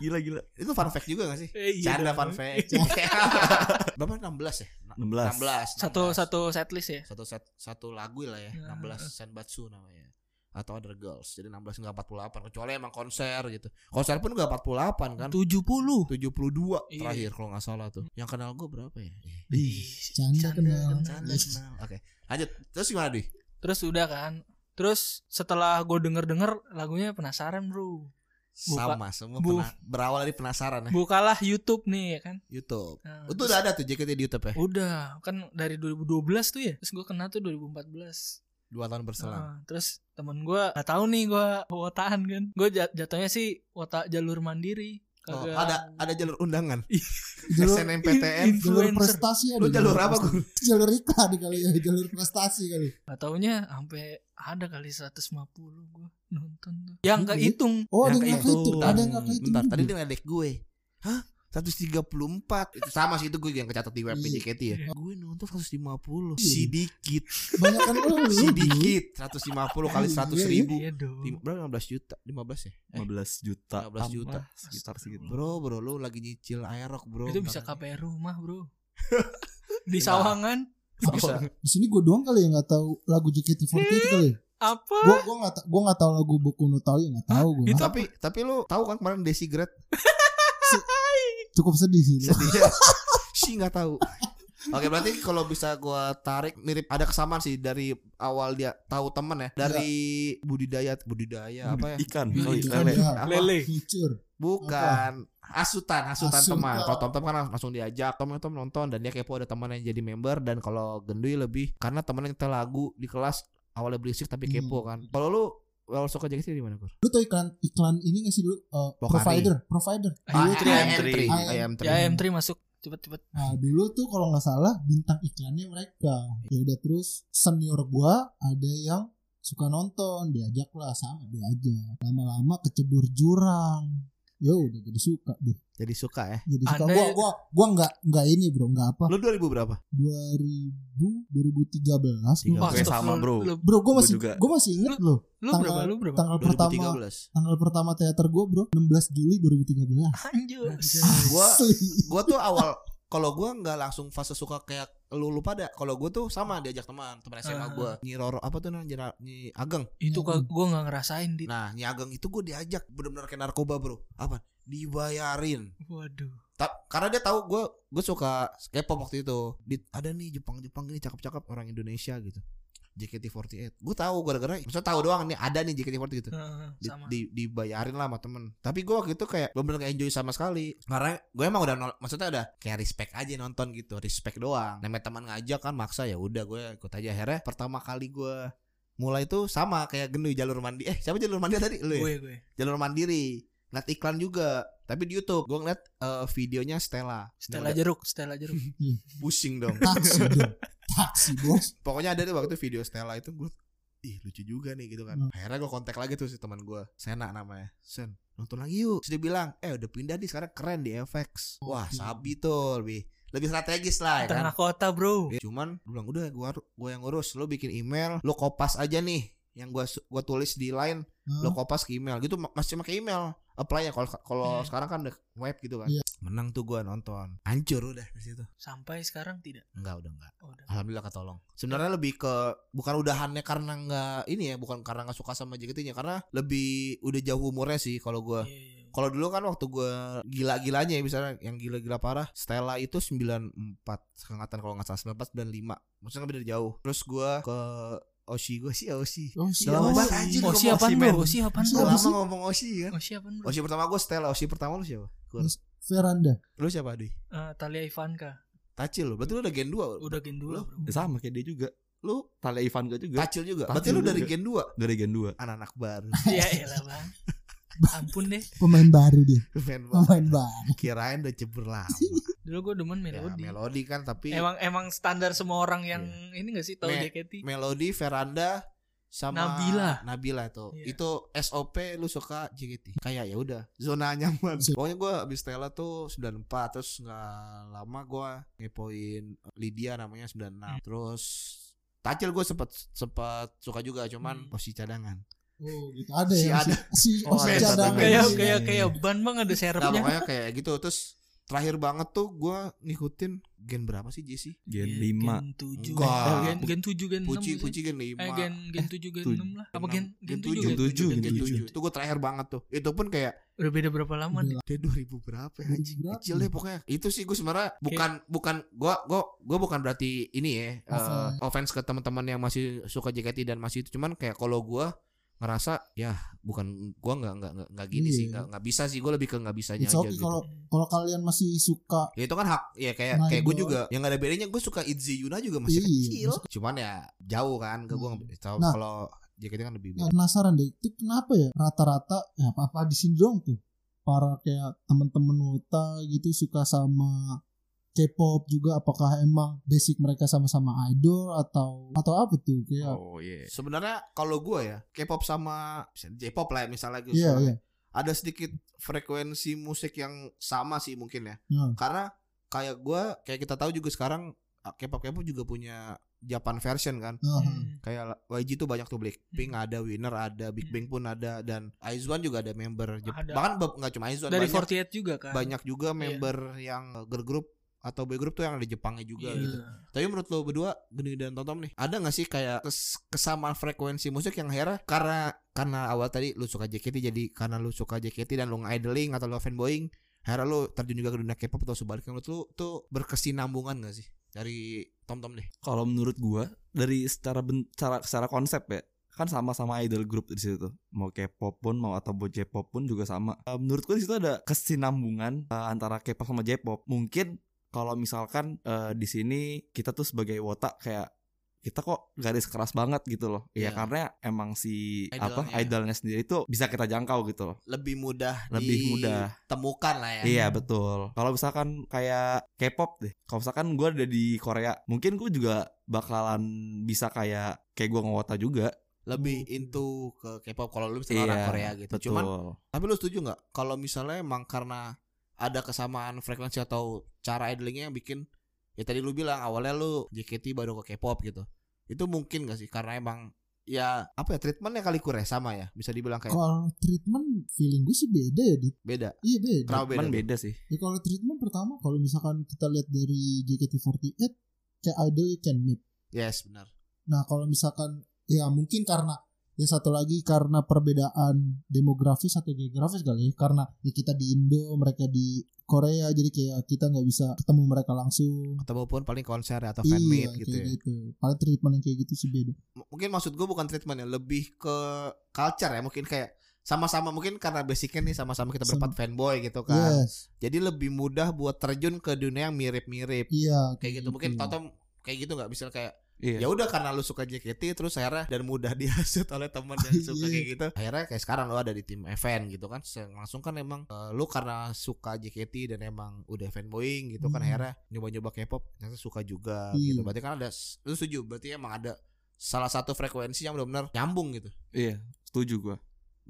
[SPEAKER 5] Gila gila.
[SPEAKER 4] Itu fun fact juga gak sih?
[SPEAKER 6] Eh, iya
[SPEAKER 4] Canda
[SPEAKER 6] dong. Iya.
[SPEAKER 4] fun fact. *laughs* Berapa 16 ya?
[SPEAKER 5] 16.
[SPEAKER 4] 16.
[SPEAKER 6] Satu
[SPEAKER 4] 16.
[SPEAKER 6] satu setlist ya.
[SPEAKER 4] satu set, satu lagu lah ya
[SPEAKER 6] Ya.
[SPEAKER 4] 16 senbatsu namanya atau other girls jadi 16 enggak 48 kecuali emang konser gitu konser pun enggak 48 kan
[SPEAKER 6] 70.
[SPEAKER 4] 72
[SPEAKER 6] Iya.
[SPEAKER 4] terakhir kalau nggak salah tuh yang kenal gue berapa ya Ih,
[SPEAKER 6] Ih,
[SPEAKER 3] Canda kenal.
[SPEAKER 4] canda kenal oke lanjut terus gimana di
[SPEAKER 6] Terus udah kan. Terus setelah gue denger-denger lagunya penasaran bro Buka-
[SPEAKER 4] sama semua
[SPEAKER 6] Bu-
[SPEAKER 4] pena- berawal dari penasaran ya
[SPEAKER 6] Bukalah Youtube nih ya kan
[SPEAKER 4] YouTube
[SPEAKER 6] Nah,
[SPEAKER 4] itu udah ada tuh JKT di YouTube ya
[SPEAKER 6] Udah kan dari 2012 tuh ya Terus gue kena tuh 2014
[SPEAKER 4] dua tahun berselang
[SPEAKER 6] Heeh, terus temen gue gak tahu nih gue wotaan kan gue jatuhnya sih wota jalur mandiri
[SPEAKER 4] Oh,
[SPEAKER 6] kagak *laughs*
[SPEAKER 4] ada ada jalur undangan
[SPEAKER 3] Jalur,
[SPEAKER 4] SNMPTN
[SPEAKER 3] jalur
[SPEAKER 6] influencer
[SPEAKER 3] prestasi ada.
[SPEAKER 4] lu jalur apa
[SPEAKER 3] prestasi.
[SPEAKER 4] gue
[SPEAKER 3] Jalur iklan kali ya, jalur prestasi kali.
[SPEAKER 6] gak taunya sampai ada kali 150 gue nonton tuh yang gak hitung
[SPEAKER 3] Oh, ada
[SPEAKER 4] Yang
[SPEAKER 3] yang
[SPEAKER 4] kayak gitu.
[SPEAKER 3] itu,
[SPEAKER 5] itu.
[SPEAKER 3] ada yang nggak kayak itu.
[SPEAKER 4] bentar tadi dia ngeledek gue hah 134 itu sama sih itu gue yang kecatat di web
[SPEAKER 3] Iya.
[SPEAKER 4] JKT ya gue nonton 150
[SPEAKER 3] Iya.
[SPEAKER 4] sedikit
[SPEAKER 3] banyak kan
[SPEAKER 4] *laughs*
[SPEAKER 3] lu.
[SPEAKER 4] sedikit 150 kali 100 ribu
[SPEAKER 6] iya dong
[SPEAKER 4] Lim- berapa 15 juta 15 ya
[SPEAKER 5] 15 juta.
[SPEAKER 4] 15 juta.
[SPEAKER 5] Apa? Sekitar segitu.
[SPEAKER 4] bro bro lu lagi nyicil aerok bro
[SPEAKER 6] itu bisa
[SPEAKER 4] Bentar.
[SPEAKER 6] KPR rumah bro di sawangan
[SPEAKER 4] bisa
[SPEAKER 3] Di sini gue doang kali yang nggak tahu lagu JKT48 kali.
[SPEAKER 6] apa
[SPEAKER 3] Gue gue nggak ta- gua nggak tahu lagu buku no tahu nggak tahu gue.
[SPEAKER 6] Itu-
[SPEAKER 4] tapi tapi lu tahu kan kemarin Desi Gret
[SPEAKER 3] Cukup sedih sih.
[SPEAKER 4] sedihnya sih nggak tahu Oke berarti kalau bisa gua tarik mirip ada kesamaan sih dari awal dia tahu temen ya dari budidaya budidaya apa ya
[SPEAKER 5] Ikan.
[SPEAKER 6] Iya,
[SPEAKER 5] Oh,
[SPEAKER 3] Itu
[SPEAKER 5] ikan. ya.
[SPEAKER 3] ada
[SPEAKER 6] lele
[SPEAKER 3] Future.
[SPEAKER 4] Bukan hasutan, hasutan
[SPEAKER 3] Hasutan.
[SPEAKER 4] teman. Kalau Tom Tom kan langsung diajak, Tom Tom nonton dan dia kepo ada teman yang jadi member dan kalau Gendui lebih karena temennya nyetel lagu di kelas awalnya berisik tapi
[SPEAKER 3] Hmm.
[SPEAKER 4] kepo kan. Kalau lu awal suka JKT di mana, Kur?
[SPEAKER 3] Lu tau iklan iklan ini nggak sih dulu? Eh,
[SPEAKER 4] Pokari.
[SPEAKER 3] provider, provider.
[SPEAKER 6] Ah,
[SPEAKER 3] Dulu tuh-
[SPEAKER 6] iya.
[SPEAKER 5] IM3.
[SPEAKER 4] IM3.
[SPEAKER 6] ya M3 masuk cepet-cepet
[SPEAKER 3] Nah, dulu tuh kalau nggak salah bintang iklannya mereka. Ya udah terus senior gua ada yang suka nonton, diajak lah sama diajak. Lama-lama kecebur jurang. Ya udah jadi suka deh.
[SPEAKER 4] Jadi suka ya.
[SPEAKER 3] Jadi suka
[SPEAKER 6] Anda-
[SPEAKER 3] gua gua gua nggak nggak ini bro, nggak apa.
[SPEAKER 4] Lu 2000 berapa?
[SPEAKER 3] 2000 2013 gua
[SPEAKER 5] Wah,
[SPEAKER 3] nggak salah.
[SPEAKER 5] sama, bro.
[SPEAKER 6] lu,
[SPEAKER 3] Bro, gua
[SPEAKER 5] Gua
[SPEAKER 3] masih
[SPEAKER 5] juga.
[SPEAKER 3] gua masih inget loh.
[SPEAKER 6] lu
[SPEAKER 3] Tanggal-
[SPEAKER 6] berapa lu berapa
[SPEAKER 3] Tanggal pertama
[SPEAKER 4] 2013.
[SPEAKER 3] tanggal pertama teater gua, Bro, 16 Juli 2013.
[SPEAKER 6] anjus
[SPEAKER 4] Gua
[SPEAKER 3] Asli.
[SPEAKER 4] gua tuh awal *laughs* kalau gua nggak langsung fase suka kayak lu lu pada kalau gua tuh sama diajak teman teman SMA gua Nyi Roro apa tuh namanya Nyi Ageng
[SPEAKER 6] itu kag- gua nggak ngerasain di
[SPEAKER 4] Iya, nah Nyi Ageng itu gua diajak bener-bener kayak narkoba bro apa dibayarin
[SPEAKER 6] waduh
[SPEAKER 4] Ta- karena dia tahu gue gue suka K-pop waktu itu Di- ada nih Jepang Jepang gini cakep-cakep orang Indonesia gitu JKT48 gue tahu gara-gara maksudnya tahu doang nih ada nih JKT48 gitu
[SPEAKER 6] Heeh,
[SPEAKER 4] Di-
[SPEAKER 6] sama
[SPEAKER 4] di- dibayarin lah sama temen tapi gue waktu itu kayak belum bener enjoy sama sekali karena gue emang udah nol- maksudnya udah kayak respect aja nonton gitu respect doang namanya teman ngajak kan maksa ya udah gue ikut aja akhirnya pertama kali gue mulai tuh sama kayak gendui jalur mandi eh siapa jalur mandi tadi lu ya?
[SPEAKER 6] gue gue
[SPEAKER 4] jalur mandiri ngeliat iklan juga tapi di YouTube gue ngeliat eh, videonya Stella
[SPEAKER 6] Stella
[SPEAKER 4] Udah
[SPEAKER 6] jeruk Stella
[SPEAKER 4] *laughs*
[SPEAKER 6] jeruk
[SPEAKER 4] Iya pusing dong
[SPEAKER 3] Taksi, Bro. Taksi, Bos.
[SPEAKER 4] pokoknya ada deh waktu itu video Stella itu gue ih lucu juga nih gitu kan
[SPEAKER 3] Hmm.
[SPEAKER 4] akhirnya gue kontak lagi tuh si teman gue Sena namanya Sen nonton lagi yuk Terus dia bilang eh udah pindah nih sekarang keren di FX wah sabi tuh lebih lebih strategis lah ya kan
[SPEAKER 6] tengah kota bro
[SPEAKER 4] Ya, cuman gue bilang udah gue gua yang ngurus lo bikin email lo kopas aja nih yang gue gua tulis di line
[SPEAKER 3] Hah?
[SPEAKER 4] lo kopas ke email gitu ma- masih pakai email apply ya kalau kalau
[SPEAKER 6] Hmm.
[SPEAKER 4] sekarang kan udah web gitu kan
[SPEAKER 3] Iya.
[SPEAKER 4] menang tuh gua nonton hancur udah di situ
[SPEAKER 6] sampai sekarang tidak
[SPEAKER 4] enggak udah enggak
[SPEAKER 6] Oh, udah.
[SPEAKER 4] alhamdulillah ketolong sebenarnya lebih ke bukan udahannya karena enggak ini ya bukan karena nggak suka sama JKT nya karena lebih udah jauh umurnya sih kalau gua
[SPEAKER 6] Iya, iya, iya.
[SPEAKER 4] kalau dulu kan waktu gua gila-gilanya ya misalnya yang gila-gila parah Stella itu 94 sekangkatan kalau nggak salah 94 95 maksudnya beda jauh terus gua ke Oshi gua sih Oshi
[SPEAKER 3] Oh, si-
[SPEAKER 4] Udah lama
[SPEAKER 3] oh, si-
[SPEAKER 4] banget, anjir.
[SPEAKER 6] Oh, si
[SPEAKER 4] ngomong
[SPEAKER 6] apaan
[SPEAKER 4] si
[SPEAKER 6] bro?
[SPEAKER 4] men.
[SPEAKER 6] Oh, si apaan
[SPEAKER 4] Udah
[SPEAKER 6] bro?
[SPEAKER 4] lama ngomong Oshi kan
[SPEAKER 6] Oh, si apaan bro?
[SPEAKER 4] Osi pertama gue Stella Osi pertama lu siapa?
[SPEAKER 3] Veranda.
[SPEAKER 4] Lu siapa Adi?
[SPEAKER 6] Eh, Talia Ivanka.
[SPEAKER 4] Tacil lu Berarti lu udah gen 2
[SPEAKER 6] Udah gen dua,
[SPEAKER 4] Lu?
[SPEAKER 6] bro. *laughs*
[SPEAKER 5] Sama kayak dia juga. Lu Tale Ivan gue juga
[SPEAKER 4] Tacil juga Berarti
[SPEAKER 5] Tacil
[SPEAKER 4] lu dari
[SPEAKER 5] juga.
[SPEAKER 4] gen 2
[SPEAKER 5] dari gen 2.
[SPEAKER 4] Anak-anak
[SPEAKER 5] *laughs*
[SPEAKER 4] baru *laughs*
[SPEAKER 6] Ya elah bang. Ampun deh.
[SPEAKER 3] Pemain baru dia.
[SPEAKER 4] Keren banget
[SPEAKER 3] Pemain baru.
[SPEAKER 4] Kirain udah jebur
[SPEAKER 5] *laughs*
[SPEAKER 4] lama
[SPEAKER 6] Dulu gue demen
[SPEAKER 4] ya,
[SPEAKER 6] melodi. Eh,
[SPEAKER 4] Melodi kan tapi
[SPEAKER 6] Emang emang standar semua orang yang ini gak sih tahu
[SPEAKER 4] Me-
[SPEAKER 6] JKT?
[SPEAKER 4] Melodi Veranda sama
[SPEAKER 6] Nabila.
[SPEAKER 4] Nabila tuh.
[SPEAKER 6] Iya.
[SPEAKER 4] Itu SOP lu suka JKT. Kayak ya udah zona nyaman. Pokoknya gua abis Stella tuh 94 terus nggak lama gua ngepoin Lydia namanya 96.
[SPEAKER 6] Hmm.
[SPEAKER 4] Terus Tacil gue sempet sempet suka juga cuman
[SPEAKER 6] Hmm.
[SPEAKER 4] posisi cadangan.
[SPEAKER 3] Oh gitu ada
[SPEAKER 4] Si
[SPEAKER 3] ya
[SPEAKER 4] ada.
[SPEAKER 3] si, si
[SPEAKER 4] Oh,
[SPEAKER 3] oh, si
[SPEAKER 4] ada satu iya,
[SPEAKER 3] cadangan
[SPEAKER 6] Iya. kayak
[SPEAKER 3] ini.
[SPEAKER 6] kayak kayak ban bang ada
[SPEAKER 4] Nah,
[SPEAKER 6] serepnya
[SPEAKER 4] pokoknya kayak gitu terus terakhir banget tuh gua ngikutin gen berapa sih JC?
[SPEAKER 5] Gen 5
[SPEAKER 6] gen tujuh
[SPEAKER 4] Enggak.
[SPEAKER 6] Eh, gen gen tujuh gen enam
[SPEAKER 4] Puci
[SPEAKER 6] sih.
[SPEAKER 4] Puci gen 5.
[SPEAKER 6] eh gen gen tujuh gen
[SPEAKER 5] Tujuh.
[SPEAKER 6] enam lah apa gen gen tujuh
[SPEAKER 5] tujuh.
[SPEAKER 4] gen
[SPEAKER 6] ya? gen tujuh
[SPEAKER 5] Gen
[SPEAKER 4] gen
[SPEAKER 5] tujuh.
[SPEAKER 4] tujuh. itu gue terakhir banget tuh itu pun kayak
[SPEAKER 6] udah beda berapa lama nih
[SPEAKER 4] dia 2000 berapa ya anjing
[SPEAKER 3] 2000 berapa?
[SPEAKER 4] kecil deh pokoknya itu sih gue sebenarnya bukan bukan gue gue gue bukan berarti ini ya eh,
[SPEAKER 3] Offense.
[SPEAKER 4] offense ke teman-teman yang masih suka JKT dan masih itu cuman kayak kalau gue ngerasa ya bukan gue nggak nggak nggak nggak gini
[SPEAKER 3] Iya.
[SPEAKER 4] sih nggak nggak bisa sih gue lebih ke nggak
[SPEAKER 3] It's
[SPEAKER 4] bisanya aja
[SPEAKER 3] okay
[SPEAKER 4] gitu
[SPEAKER 3] kalau kalau kalian masih suka
[SPEAKER 4] ya itu kan hak ya kayak
[SPEAKER 3] Nah,
[SPEAKER 4] kayak gue
[SPEAKER 3] iya.
[SPEAKER 4] juga yang gak ada bedanya gue suka Itzy Yuna juga masih
[SPEAKER 3] Iya,
[SPEAKER 4] kecil
[SPEAKER 3] masih
[SPEAKER 4] cuman ya jauh kan ke gue tahu
[SPEAKER 3] Nah.
[SPEAKER 4] kalau JKT kan lebih
[SPEAKER 3] nah, penasaran deh itu kenapa ya rata-rata ya apa apa di sini dong tuh para kayak temen-temen Wota gitu suka sama K-pop juga apakah emang basic mereka sama-sama idol atau atau apa tuh kayak
[SPEAKER 5] Oh iya
[SPEAKER 4] Sebenarnya kalau gue ya K-pop sama J-pop lah ya, misalnya gitu.
[SPEAKER 3] iya iya
[SPEAKER 4] Ada sedikit frekuensi musik yang sama sih mungkin ya.
[SPEAKER 3] Hmm.
[SPEAKER 4] Karena kayak gue kayak kita tahu juga sekarang ah, K-pop K-pop juga punya Japan version kan.
[SPEAKER 3] Heeh.
[SPEAKER 6] Hmm.
[SPEAKER 4] Kayak YG tuh banyak tuh Blackpink ada, Winner ada, Big Bang pun ada dan Aizwan juga ada member. Jep-
[SPEAKER 6] Hmm. Ada.
[SPEAKER 4] Bahkan be- nggak cuma Aizwan
[SPEAKER 6] dari
[SPEAKER 4] banyak
[SPEAKER 6] 48 juga kan
[SPEAKER 4] banyak juga member yang eh, girl group atau boy group tuh yang ada Jepangnya juga
[SPEAKER 6] Iya.
[SPEAKER 4] gitu. Tapi menurut lo berdua Geni dan Tom nih Ada gak sih kayak kes- Kesamaan frekuensi musik yang akhirnya Karena Karena awal tadi Lu suka JKT Jadi karena lu suka JKT Dan lu nge-idling Atau lu fanboying Akhirnya lu terjun juga ke dunia K-pop Atau sebaliknya Menurut lu tuh Berkesinambungan gak sih Dari Tom Tom deh
[SPEAKER 5] Kalau menurut gua Dari secara, ben, secara, secara konsep ya kan sama-sama idol group di situ tuh. mau K-pop pun mau atau mau J-pop pun juga sama Eh, menurut gua di situ ada kesinambungan eh, antara K-pop sama J-pop mungkin kalau misalkan eh, di sini kita tuh sebagai wota kayak kita kok garis keras banget gitu loh ya
[SPEAKER 4] Iya.
[SPEAKER 5] karena emang si apa
[SPEAKER 4] Idolnya.
[SPEAKER 5] idolnya sendiri tuh bisa kita jangkau gitu loh
[SPEAKER 4] Lebih mudah
[SPEAKER 5] Lebih mudah.
[SPEAKER 4] Temukan lah ya
[SPEAKER 5] Iya betul. Kalau misalkan kayak K-pop deh. Kalau misalkan gue ada di Korea, mungkin gue juga bakalan bisa kayak kayak gue ngewota juga.
[SPEAKER 4] Lebih into ke K-pop Kalau lu
[SPEAKER 5] Iya,
[SPEAKER 4] misalnya orang Korea gitu
[SPEAKER 5] Betul.
[SPEAKER 4] Cuman Tapi lu setuju nggak kalau misalnya emang karena ada kesamaan frekuensi atau cara idlingnya yang bikin ya tadi lu bilang awalnya lu JKT baru ke K-pop gitu. Itu mungkin gak sih karena emang ya apa ya treatmentnya kali kurang sama ya bisa dibilang kayak
[SPEAKER 3] kalau treatment feeling gue sih beda ya Dit.
[SPEAKER 4] beda.
[SPEAKER 3] iya beda
[SPEAKER 4] Kenapa beda?
[SPEAKER 5] Cuman beda sih.
[SPEAKER 3] Ya kalau treatment pertama kalau misalkan kita lihat dari JKT48 kayak idol you can meet.
[SPEAKER 4] Yes benar.
[SPEAKER 3] Nah kalau misalkan ya mungkin karena ya satu lagi karena perbedaan demografis atau geografis kali ya karena ya kita di Indo mereka di Korea jadi kayak kita nggak bisa ketemu mereka langsung
[SPEAKER 4] Atau maupun paling konser atau
[SPEAKER 3] iya
[SPEAKER 4] fanmade gitu
[SPEAKER 3] kayak
[SPEAKER 4] ya.
[SPEAKER 3] gitu paling treatment yang kayak gitu sih beda
[SPEAKER 4] M- Mungkin maksud gue bukan treatment ya lebih ke culture ya mungkin kayak sama-sama mungkin karena basicnya nih sama-sama kita
[SPEAKER 3] Sama.
[SPEAKER 4] berempat fanboy gitu kan.
[SPEAKER 3] yes
[SPEAKER 4] Jadi lebih mudah buat terjun ke dunia yang mirip-mirip
[SPEAKER 3] iya
[SPEAKER 4] kayak gitu. Mungkin Totom kayak gitu nggak bisa kayak
[SPEAKER 5] Iya.
[SPEAKER 4] ya udah karena lu suka JKT terus akhirnya dan mudah *laughs* dihasut oleh teman yang suka kayak gitu akhirnya kayak sekarang lu ada di tim event gitu kan Se- langsung kan emang eh, lu karena suka JKT dan emang udah fanboying gitu kan
[SPEAKER 3] Hmm.
[SPEAKER 4] akhirnya nyoba-nyoba K-pop ternyata suka juga
[SPEAKER 3] Iya.
[SPEAKER 4] gitu berarti kan ada s- lu setuju berarti emang ada salah satu frekuensi yang benar-benar nyambung gitu
[SPEAKER 5] Iya. Setuju gue.